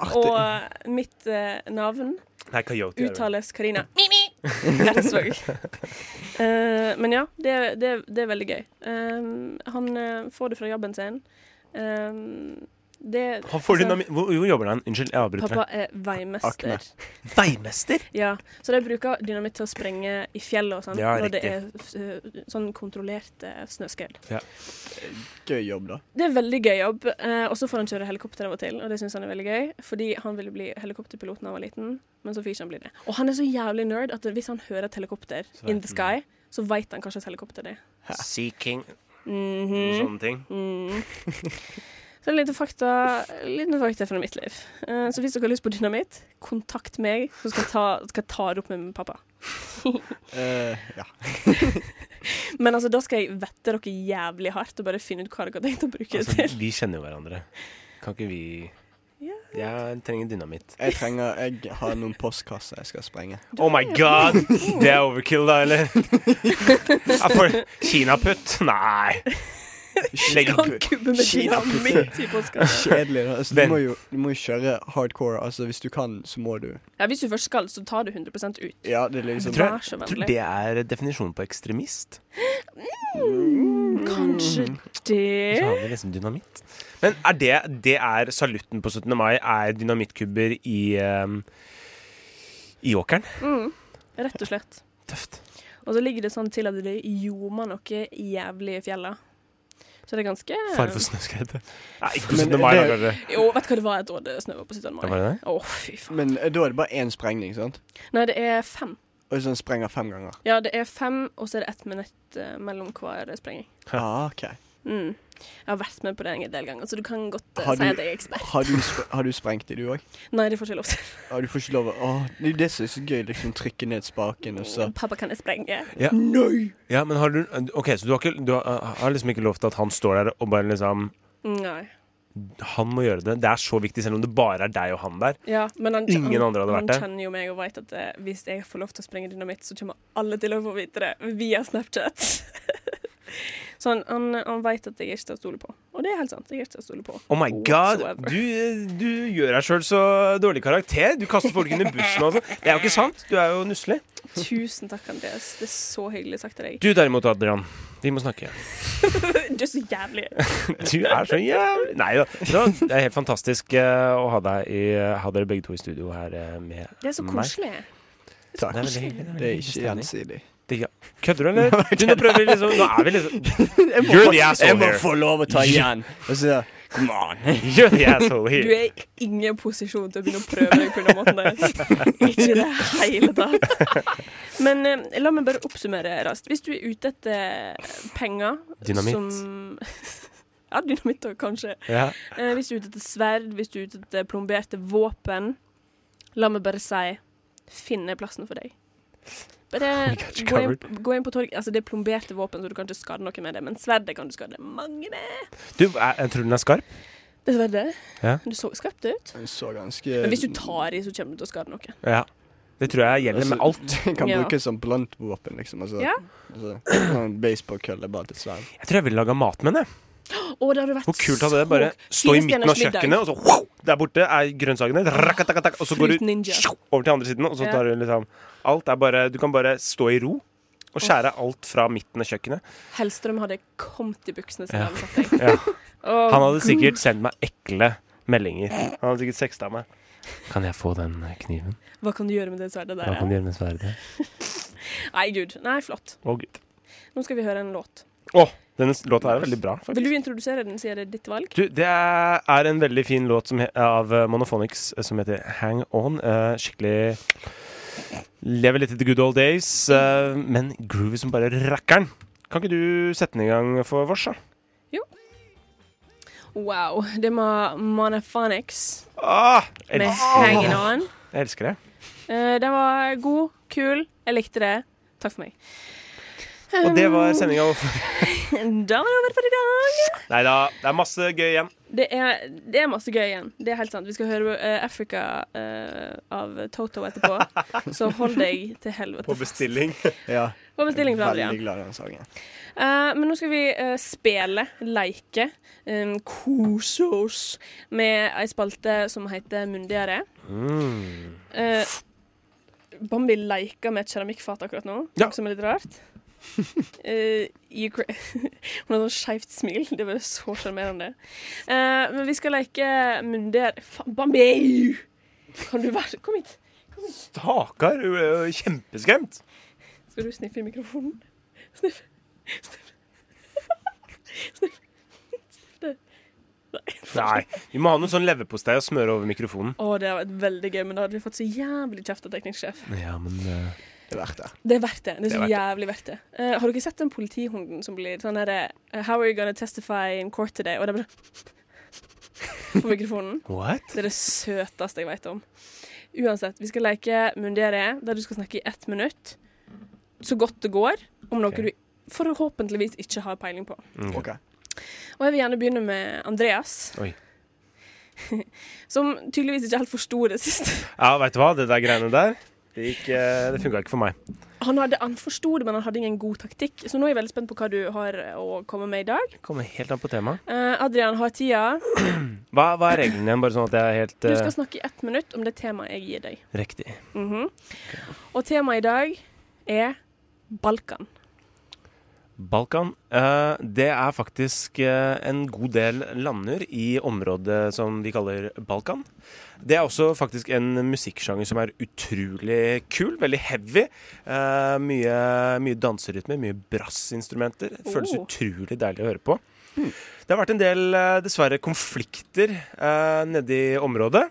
og mitt eh, navn Nei, coyote. er det. uttales Karina. Mi, mi. Eidsvåg. Eh, men ja, det, er- det, er- det er veldig gøy. Eh, han eh, får det fra jobben sin. Eh, det Han får altså, dynami- hvor, hvor jobber han? Unnskyld, jeg avbryter. Pappa er veimester. Akne. Veimester? Ja, så de bruker dynamitt til å sprenge i fjellet og sånn, Ja, når det er eh, sånn kontrollerte snøskred. Gøy jobb, da. Det er veldig gøy jobb. Eh, og så får han kjøre helikopter av og til, og det syns han er veldig gøy. Fordi han ville bli helikopterpilot da han var liten, men så fikk ikke han bli det. Og han er så jævlig nerd at hvis han hører et helikopter in the sky, så veit han hva slags helikopter det er. Seeking Mhm. Sånne ting. Mm. Så litt fakta, liten fakta fra mitt liv. Eh, så hvis dere har lyst på dynamitt, kontakt meg, så skal jeg ta, skal jeg ta det opp med pappa. Eh, ja. Men altså, da skal jeg vette dere jævlig hardt og bare finne ut hva dere har tenkt å bruke det Altså, til. vi kjenner jo hverandre. Kan ikke vi Ja. Jeg trenger dynamitt. Jeg trenger Jeg har noen postkasser jeg skal sprenge. Oh my god! Det er overkill, da, eller? Ja, for Kinaputt? Nei. Legg Kan kubbe med dynamitt i postkassa. Kjedelig. da. Altså, du, Vent. må jo, du må jo kjøre hardcore. Altså, hvis du kan, så må du. Ja, hvis du først skal, så tar du 100 ut. Ja, det er liksom Tror jeg- Vær så Tror vennlig. det er definisjonen på ekstremist. Mm, Kanskje Mm. Så det har vi liksom dynamitt. Men er det, det er salutten på 17. mai er dynamittkubber i um, i åkeren? mm. Rett og slett. Tøft. Og så ligger det sånn til at det ljomer noe jævlig i fjella. Så det er ganske Fare for snøskred. Nei, ikke på Men 17. mai, da, det- kanskje. Jo, vet du hva det var et år det snøva på 17. mai? Ja, var det det? Å, fy faen. Men eh, da er det bare én sprengning, sant? Nei, det er fem. Og så sprenger fem ganger. Ja, det er fem, og så er det ett minutt eh, mellom hver sprengning. Ah, ok Mm. Jeg har vært med på det en del ganger, så du kan godt eh, Har si du- at jeg er ekspert. Har du, sp- har du sprengt det, du òg? Nei, det får ikke lov til. Ah, du får ikke lov å Åh, Det er jo det som er så gøy. Liksom trykke ned spaken, og så Pappa, kan jeg sprenge? Nei! Ja, men har du Ok, så du har, ikke, du har, har liksom ikke lov til at han står der og bare liksom Nei. Han må gjøre det. Det er så viktig, selv om det bare er deg og han der. Ja, men han, Ingen han, andre hadde vært der. Han kjenner jo meg og vet at eh, hvis jeg får lov til å sprenge dynamitt, så kommer alle til å få vite det via Snapchat. så han, han, han vet at jeg er ikke til å stole på. Og det er helt sant. Jeg er ikke til å stole på. Oh my god! Whatsoever. Du, du gjør deg sjøl så dårlig karakter. Du kaster folk under bussen og sånn. Det er jo ikke sant. Du er jo nusselig. Tusen takk, Andreas. Det er så hyggelig sagt av deg. Du derimot, Adrian. Vi må snakke. Du er så jævlig. Du er så jævlig Nei da. Det var- Det er helt fantastisk eh, å ha deg i Ha dere begge to i studio her eh, med Det er så meg. koselig. Takk. Det er veldig hyggelig, Det er veldig ikke hyggelig stemning. gjensidig. Kødder du, eller? Du, nå prøver vi liksom Nå er vi liksom You're the asshole Jeg må here. få lov å ta igjen. Og så Come on. You're the asshole Du here. er i ingen posisjon til å begynne å prøve deg på den måten der. Ikke i det hele tatt. Men eh, la meg bare oppsummere raskt. Hvis du er ute etter eh, penger Dynamitt. som Ja, dynamitt òg, kanskje. Ja. Eh, hvis du er ute etter sverd, hvis du er ute etter plomberte våpen La meg bare si finne plassen for deg. Bare got you gå inn, gå inn på torget. Altså, det er plomberte våpen, så du kan ikke skade noe med det. Men sverdet kan du skade mange med. Du, jeg, jeg tror den er skarp. Dessverre. Ja. Du så skarpt ut. Den så ganske Men hvis du tar i, så kommer du til å skade noen. Ja. Altså, Det tror jeg gjelder med alt. Den kan Ja. brukes som blantvåpen, liksom. Altså, Ja. altså sånn baseballkølle bare til sverd. Jeg tror jeg ville laga mat med den. jeg. Å, det hadde vært Hvor kult hadde det bare stå i midten av kjøkkenet, og så wow, der borte er grønnsakene, rakatakatak, og så går Fruit du ninja. sjo, over til andre siden, og så Ja. tar du liksom Alt er bare Du kan bare stå i ro og skjære alt fra midten av kjøkkenet. Hellstrøm hadde kommet i buksene Ja. sine. hadde satt deg. Ja. Å, Han hadde sikkert sendt meg ekle meldinger. Han hadde sikkert seksta meg. Kan jeg få den kniven? Hva kan du gjøre med det sverdet Hva der? kan du gjøre med sverdet? Nei, gud. Nei, flott. Å, gud. Nå skal vi høre en låt. Å, denne s- låta er veldig bra. faktisk. Vil du introdusere den, siden det er ditt valg? Du, det er en veldig fin låt som he av eh, Monophonics eh, som heter Hang On. Eh, skikkelig Lever litt i the good old days, eh, men groovy som bare rakkeren. Kan ikke du sette den i gang for vårs, da? Wow. Det var Monophonics Ah, jeg med elsker, Hanging On. jeg elsker det. Eh, den var god, kul. Jeg likte det. Takk for meg. Og det var sendinga. Da var det over for i dag. Nei da, det er masse gøy igjen. Det er, det er masse gøy igjen. Det er helt sant. Vi skal høre eh, Africa eh, av Toto etterpå. Så hold deg til helvete. På bestilling. Ja, På bestilling fra Adrian. veldig glad i den sangen. Eh, men nå skal vi eh, spille, leke, um, kose oss med ei spalte som heter Mundigere. Mm. Eh, Bambi leker med et keramikkfat akkurat nå, Ja. som er litt rart. Eh, Ukra- Hun har sånn skeivt smil. Det er bare så sjarmerende. Eh, men vi skal leke munder... Faen, Bambi! Kan du være Kom hit. Stakkar, hun er jo kjempeskremt. Skal du sniffe i mikrofonen? Nei, vi må ha noe sånn leverpostei og smøre over mikrofonen. Å, det har vært veldig gøy, men da hadde vi fått så jævlig kjeft av teknisk sjef. Ja, men eh, Det er verdt det. Det er verdt det. Det er Det er så verdt det. jævlig verdt det. Eh, har dere sett den politihunden som blir sånn herre How are you gonna testify in court today? Og det er bare sånn På mikrofonen. What? Det er det søteste jeg vet om. Uansett, vi skal leke Mundere, der du skal snakke i ett minutt, så godt det går, om noe Ok. du forhåpentligvis ikke har peiling på. Mm. Ok. Og jeg vil gjerne begynne med Andreas, Oi. som tydeligvis ikke helt forsto det sist. Ja, veit du hva, det der greiene der, det, gikk, eh, det funka ikke for meg. Han, hadde- han forsto det, men han hadde ingen god taktikk, så nå er jeg veldig spent på hva du har å komme med i dag. Kommer helt an på temaet. Eh, Adrian har tida. Hva, hva er reglene igjen, bare sånn at jeg er helt Du eh, skal snakke i ett minutt om det temaet jeg gir deg. riktig? Mhm. Og temaet i dag er Balkan. Balkan. eh, det er faktisk eh, en god del lander i området som vi kaller Balkan. Det er også faktisk en musikksjanger som er utrolig kul, veldig heavy. Eh, mye, mye danserytme, mye brassinstrumenter. Det Føles Oh. utrolig deilig å høre på. Det har vært en del, eh, dessverre, konflikter uh, nede i området.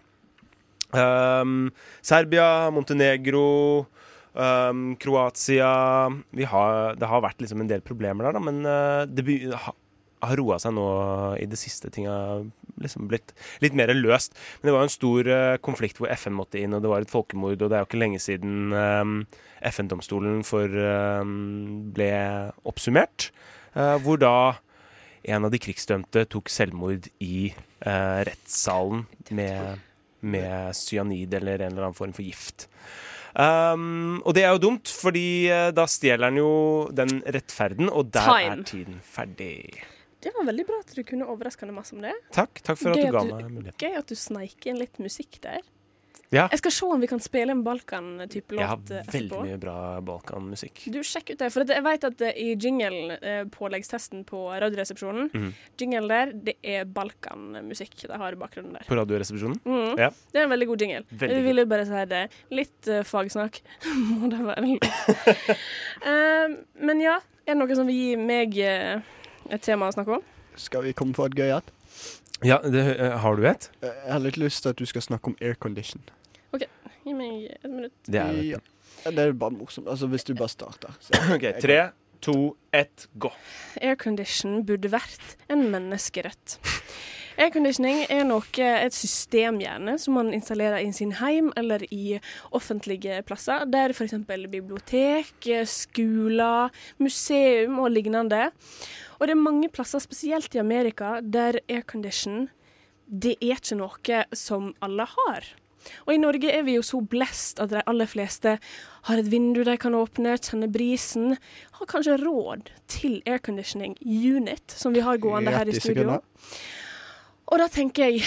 Um, Serbia, Montenegro, um, Kroatia vi har, Det har vært liksom en del problemer der, da, men uh, det be, ha, har roa seg nå i det siste. Ting har liksom blitt litt mer løst. Men det var jo en stor uh, konflikt hvor FN måtte inn, og det var et folkemord. Og det er jo ikke lenge siden um, FN-domstolen for um, ble oppsummert, uh, hvor da en av de krigsdømte tok selvmord i uh, rettssalen med med cyanid eller en eller annen form for gift. Um, og det er jo dumt, fordi eh, da stjeler han jo den rettferden, og der Time. er tiden ferdig. Det var veldig bra at du kunne overraskende masse om det. Takk takk for at Gøy du ga at du- meg muligheten. Gøy at du sneik inn litt musikk der. Ja. Jeg skal se om vi kan spille en Balkan-type Jeg har låt eh, veldig mye bra balkanmusikk. Du, sjekk ut det, for at jeg vet at eh, i jingle-påleggstesten på Radioresepsjonen, Mhm. jingle der, det er Balkan-musikk de har i bakgrunnen der. På Radioresepsjonen? Mhm. Ja. Det er en veldig god jingle. Veldig Vi ville bare si det. Litt eh, fagsnakk må det være lov. Eh, men ja, er det noe som vil gi meg eh, et tema å snakke om? Skal vi komme på et gøy et? Ja, det, eh, har du et? Eh, Jeg har litt lyst til at du skal snakke om aircondition. Gi meg et minutt. Det er jo et. Ja. Det er jo bare morsomt. Altså, hvis du bare starter. så- Ok, tre, to, ett, gå. Aircondition burde vært en menneskerett. Airconditioning er noe, et system gjerne, som man installerer i sin heim eller i offentlige plasser, der f.eks. bibliotek, skoler, museum og lignende. Og det er mange plasser, spesielt i Amerika, der aircondition det er ikke noe som alle har. Og i Norge er vi jo så blest at de aller fleste har et vindu de kan åpne, kjenner brisen, har kanskje råd til airconditioning unit, som vi har gående her i Rett i studio. sekundet. Og da tenker jeg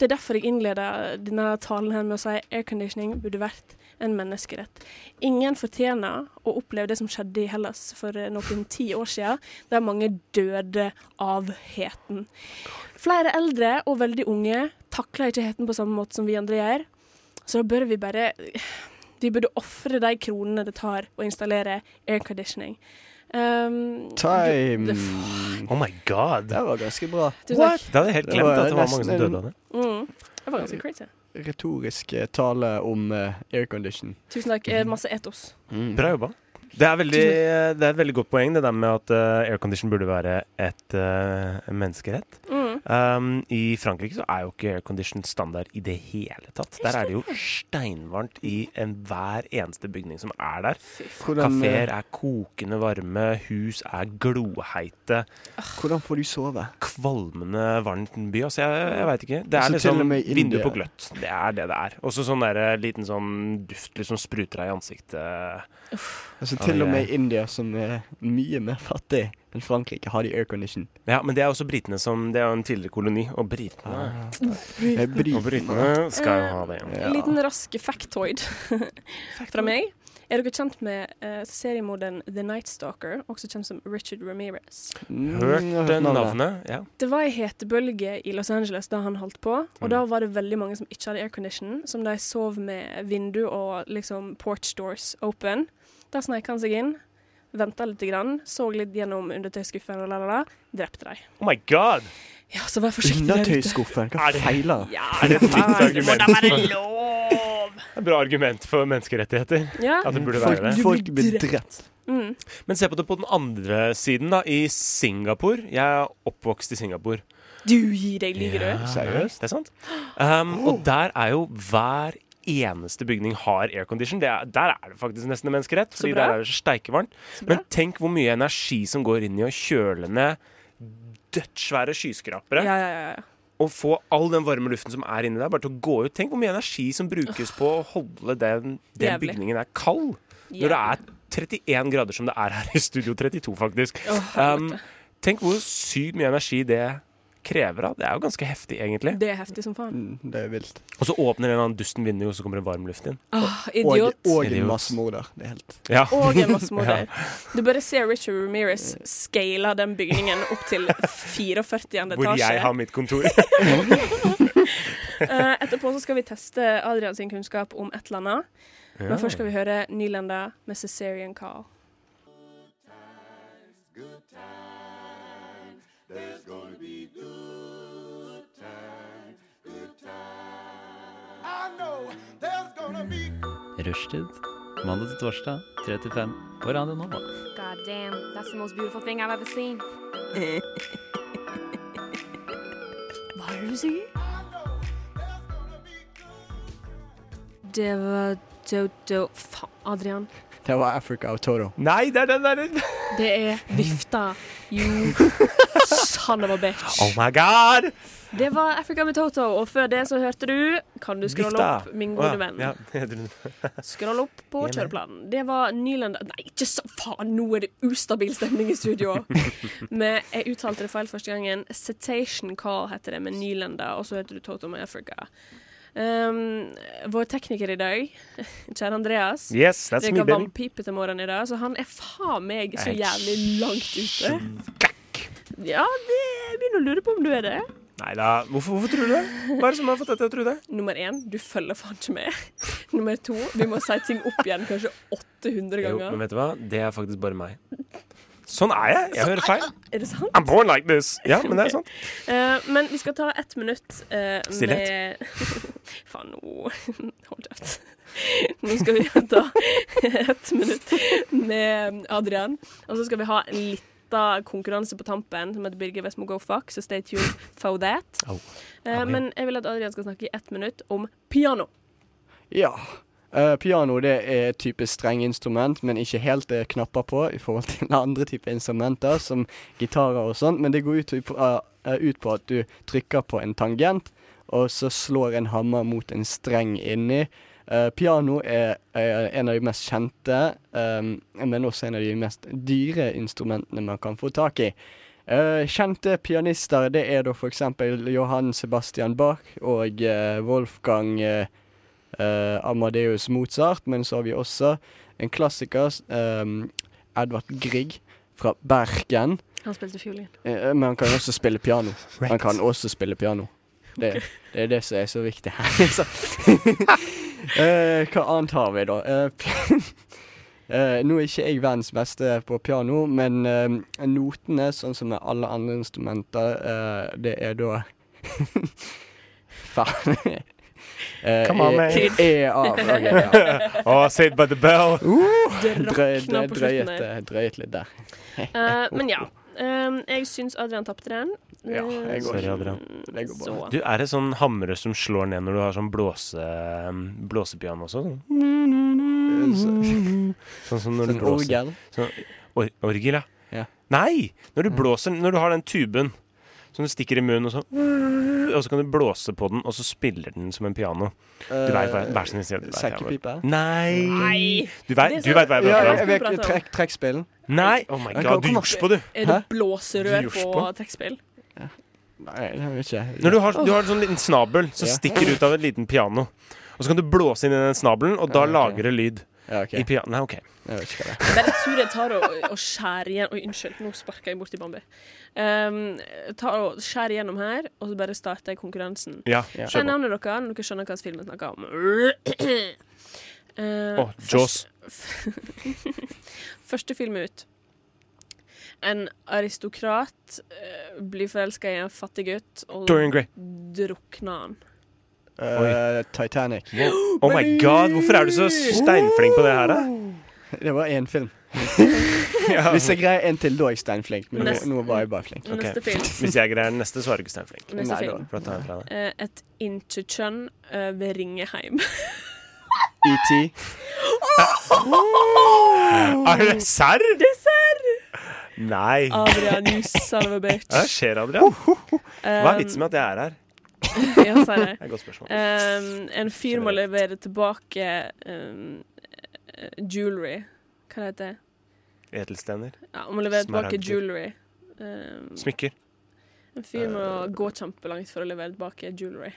Det er derfor jeg innleder denne talen her med å si airconditioning burde vært en menneskerett. Ingen fortjener å oppleve det som skjedde i Hellas for eh, noen ti år siden, der mange døde av heten. Flere eldre og veldig unge takler ikke heten på samme måte som vi andre gjør, så da bør vi bare Vi burde ofre de kronene det tar å installere airconditioning. Um, Time. Det- det- Oh my god. Det var ganske bra. Tusen takk. Det hadde jeg helt Det glemt var at det var nesten mange som en- døde av det. Mm. Det var ganske crazy. Retorisk eh, tale om eh, aircondition. Tusen takk. eh, Masse etos. Mm. Bra jobba. Det er, veldig, det er et veldig godt poeng, det der med at eh, aircondition burde være et eh, menneskerett. Mm. Um, I Frankrike så er jo ikke aircondition standard i det hele tatt. Der er det jo steinvarmt i enhver eneste bygning som er der. Hvordan, eh, Kafeer er kokende varme, hus er gloheite, hvordan får du sove? kvalmende varmt by. Altså, jeg, jeg veit ikke. Det er Altså, til og liksom med i vindu India. på gløtt. Det er det det er. Og så sånn der, eh, liten sånn duft liksom spruter deg i ansiktet. Altså, Ja, til det og er- med i India, som er mye mer fattig, Men Frankrike har de aircondition. Ja, men det er også britene som Det er jo en tidligere koloni, og britene, Eh, bri- og britene skal jo ha det. Ja. En liten rask factoid fra meg. Er dere kjent med eh, seriemorderen The Night Stalker, også kjent som Richard Ramirez? Mm, Hørt jeg har eh, navnet. navnet? Ja. Det var ei hetebølge i Los Angeles da han holdt på, og da Mm. var det veldig mange som ikke hadde aircondition, som de sov med vindu og liksom porch doors open. Da sneik han seg inn, venta litt, grann, så litt gjennom undertøyskuffen og la-la-la, drepte de. Oh my god! Ja, så vær forsiktig der ute. Undertøyskuffen, hva feiler det? Ja, Er det et faen, dritt det må da argument? være lov! Det er et Bra argument for menneskerettigheter. Ja. At det burde Folk, være det. folk blir drept. Mm. Men se på det på den andre siden, da. I Singapore. Jeg er oppvokst i Singapore. Du gir deg, lyver du? Seriøst? Det er sant. Um, og der er jo hver eneste bygning har aircondition. Det er- Der er det faktisk nesten en menneskerett, fordi bra. der er det så steikevarmt. bra. Men tenk hvor mye energi som går inn i å kjøle ned dødssvære skyskrapere. Ja, ja, ja. ja. Og få all den varme luften som er inni der, bare til å gå ut. Tenk hvor mye energi som brukes på å holde den, den Jævlig. bygningen der kald. Når det er 31 grader som det er her i Studio 32, faktisk. Å, Um, tenk hvor sykt mye energi det krever. Da. Det er jo ganske heftig, egentlig. Det er heftig som faen. Mm, det er vilt. Og så åpner en eller annen dusten vindu, og så kommer det varm luft inn. Åh, Og, idiot. og Idiot. en massemorder. Det er helt Ja. Og en massemorder. Du bare ser Richard Ramirez scale den bygningen opp til 44. Hvor jeg har etasje. mitt kontor. Eh, Etterpå så skal vi teste Adrian sin kunnskap om et eller annet. Men først skal vi høre Nylanda med 'Cesarian Call'. Rushtid. Mandag til torsdag, 3 til 5 på Radio Nova. God damn, that's the most beautiful thing I've ever seen. Hva er det du sier? Det var Dodo Faen, Adrian. Det var Africa og Toto. Nei, det er den derre Det er vifta. You son of a bitch. Oh my god! Det var Africa med Toto, og før det så hørte du Kan du scrolle Vifta. opp, min Å, gode ja. venn? Ah, Ja, jeg tror- Scroll opp på Enig. kjøreplanen. Det var Nyland Nei, ikke så faen! Nå er det ustabil stemning i studio. Men jeg uttalte det feil første gangen. Citation Call heter det med Nylanda, og så heter du Toto med Africa. Um, vår tekniker i dag, kjære Andreas Yes, that's me, Drikker baby. vannpipe til morgenen i dag, så han er faen meg så Jeg er jævlig langt ute. Ja, det jeg begynner å lure på om du er det. Nei da, hvorfor, hvorfor tror du det? Hva er det som har fått deg til å tro det? Nummer én, du følger faen ikke med. Nummer to, vi må si ting opp igjen kanskje 800 Jo, ganger. men vet du hva? Det er faktisk bare meg. Sånn er jeg. Jeg hører feil. Er det sant? I'm born like this. Ja, men det er sant. Eh, men vi skal ta ett minutt eh, med Stillhet. Faen, nå Hold kjeft. Nå skal vi ta ett minutt med Adrian, og så skal vi ha en liten konkurranse på tampen som heter Birger Westmo Go Fuck, så stay tuned for that. Au. Au, Eh, ja. men jeg vil at Adrian skal snakke i ett minutt om piano. Ja. Eh, piano det er et type strengeinstrument, men ikke helt det er knapper på i forhold til andre typer instrumenter, som gitarer og sånn. Men det går ut, på- eh, ut på at du trykker på en tangent, og så slår en hammer mot en streng inni. Eh, piano er, eh, en av de mest kjente, eh, men også en av de mest dyre instrumentene man kan få tak i. Eh, kjente pianister det er da f.eks. Johan Sebastian Bach og eh, Wolfgang eh, eh, Amadeus Mozart, men så har vi også en klassiker, ehm, Edvard Grieg fra Bergen. Han spilte fiolin. Eh, men han kan også spille piano. Han kan også spille piano. Det, det er det som er så viktig her. Så. Eh, hva annet har vi, da? Eh, pi- eh, nå er ikke jeg verdens beste på piano, men ehm, notene, sånn som med alle andre instrumenter, eh, det er da Faen. Eh, Come on, E- man. E av. ok, ja. Oh, saved by the bell. Drøy- Drakna på drøyet, slutten der. eh, drøyet litt der. Eh, men ja. eh, jeg syns Adrian tapte den. Ja, jeg går. Sorry, Adrian. Det går bra. Så. Du, er det sånn hamre som slår ned når du har sånn blåse, blåsepiano også? Sånn, sånn som når du Sånn blåser orgel. Or, Orgel, ja. Ja. Nei! Når du blåser, når du har den tuben som du stikker i munnen, og så, og så kan du blåse på den, og så spiller den som en piano. Du vet eh, hva hver sin side. du vet hva jeg- Sekkepipe. Nei! Nei! Du vet, du vet hva jeg Ja, prater om. jeg vet ikke. Trekk, trekkspillen. Nei! Oh my Han kan god, du komme- juks på, du. Er du Hæ? blåserød Gjørs på på? trekkspill? Nei, jeg vet ikke. Når du har, du har en sånn liten snabel som Ja. stikker ut av et liten piano. Og så kan du blåse inn i den snabelen, og da Ja, ok. lager det lyd. Ja, ok. I piano. Nei, OK. Jeg vet ikke hva det er. Men jeg tror jeg tar og, og skjærer igjen Oi, unnskyld, nå sparka jeg borti Bambi. Um, jeg tar og skjærer igjennom her, og så bare starter jeg konkurransen. Ja, Ja. Skjønner kjør på. navnet dere, når dere skjønner hva filmen snakker om. Eh, Å, Jaws. Første film ut. En aristokrat eh, blir forelska i en fattig gutt, og Dorian Gray. drukner han. Eh, Titanic. Oh my god, hvorfor er du så steinflink på det her? da? Det var én film. Hvis jeg greier en til, da er jeg steinflink. Men nå, Nest- nå var jeg bare flink. Ok. Neste film. Hvis jeg greier den neste, så er du ikke steinflink. Neste Nei, film. For da tar jeg fra deg. Eh, et interkjønn eh, ved Ringeheim. ET. Er det serr? Dessert! Nei. Adrian, you son of a bitch. Hva skjer, Adrian? Hva er Um, vitsen med at jeg er her? Eh, Ja, sa jeg. Det er et godt spørsmål. Um, en fyr må levere tilbake um, eh, jewelry. Hva heter det? Edelstener. Ja, han må levere tilbake Smaragder. jewelry. Um, Smykker. en fyr må gå kjempelangt for å levere tilbake jewelry.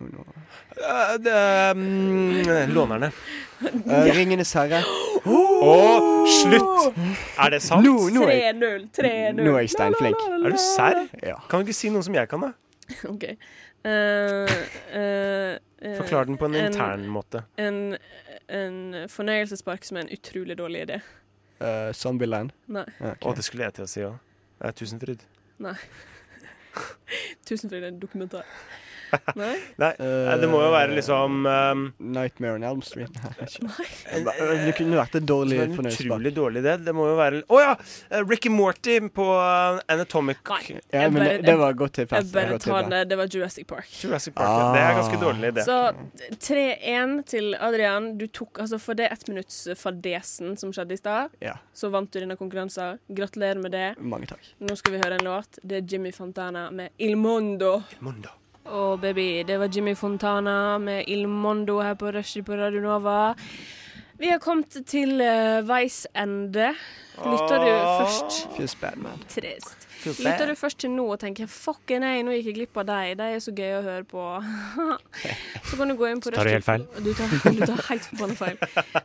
Eh, det er, mm, lånerne. Eh, Ringenes herre. Og slutt! Er det sant? Nå, nå er jeg 3-0, 3-0. Nå er jeg steinflink. La, la, la, la. Er du serr? Ja. Kan du ikke si noe som jeg kan, da? OK. Eh, eh, eh, Forklar den på en en- intern måte. En, en fornøyelsespark som er en utrolig dårlig idé. Eh, Zombieland. Nei. Ja, Å, ok. det skulle jeg til å si Eh, òg. Tusenfryd. Tusen for en dokumentar. Nei? Nei, Eh, det må jo være liksom um, Eh, eh, Nightmare on Elm Street. Nei, jeg vet ikke. Eh, en, Det kunne vært en som dårlig er en fornøyelsespark. utrolig dårlig idé. Det må jo være Å ja! Eh, Ricky Morty på uh, Anatomic Nei. Ja, Jeg men bare- det, det var et godt Jeg tilfelle. bare tar det. Det var Jurassic Park. Jurassic Park. ja. Det er en ganske dårlig idé. Så 3-1 til Adrian. Du tok altså for det ettminuttsfadesen som skjedde i stad, Ja, så vant du denne konkurransen. Gratulerer med det. mange takk. Nå skal vi høre en låt. Det er Jimmy Fontana med 'Il Mondo'. Mundo. Å, baby. Det var Jimmy Fontana med 'Il Mondo' her på Rushdie på Radio Nova. Vi har kommet til eh, veis ende. Lytter du Ah. først Feels bad, man. Trist. Lytter du først til nå og tenker 'fucken, nei, nå gikk jeg glipp av deg', de er så gøye å høre på. så kan du gå inn på Så tar du helt feil. Du tar, du tar helt forbanna feil.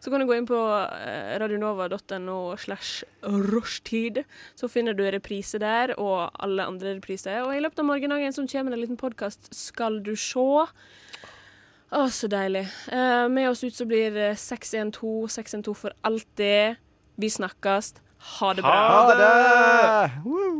Så kan du gå inn på eh, radionova.no slash rushtid, så finner du reprise der og alle andre repriser. Og i løpet av morgendagen som kommer en liten podkast, skal du se. Å, så deilig. Eh, med oss ut så blir det 612, 612 for alltid. Vi snakkes. Ha det bra. Ha det! Woo!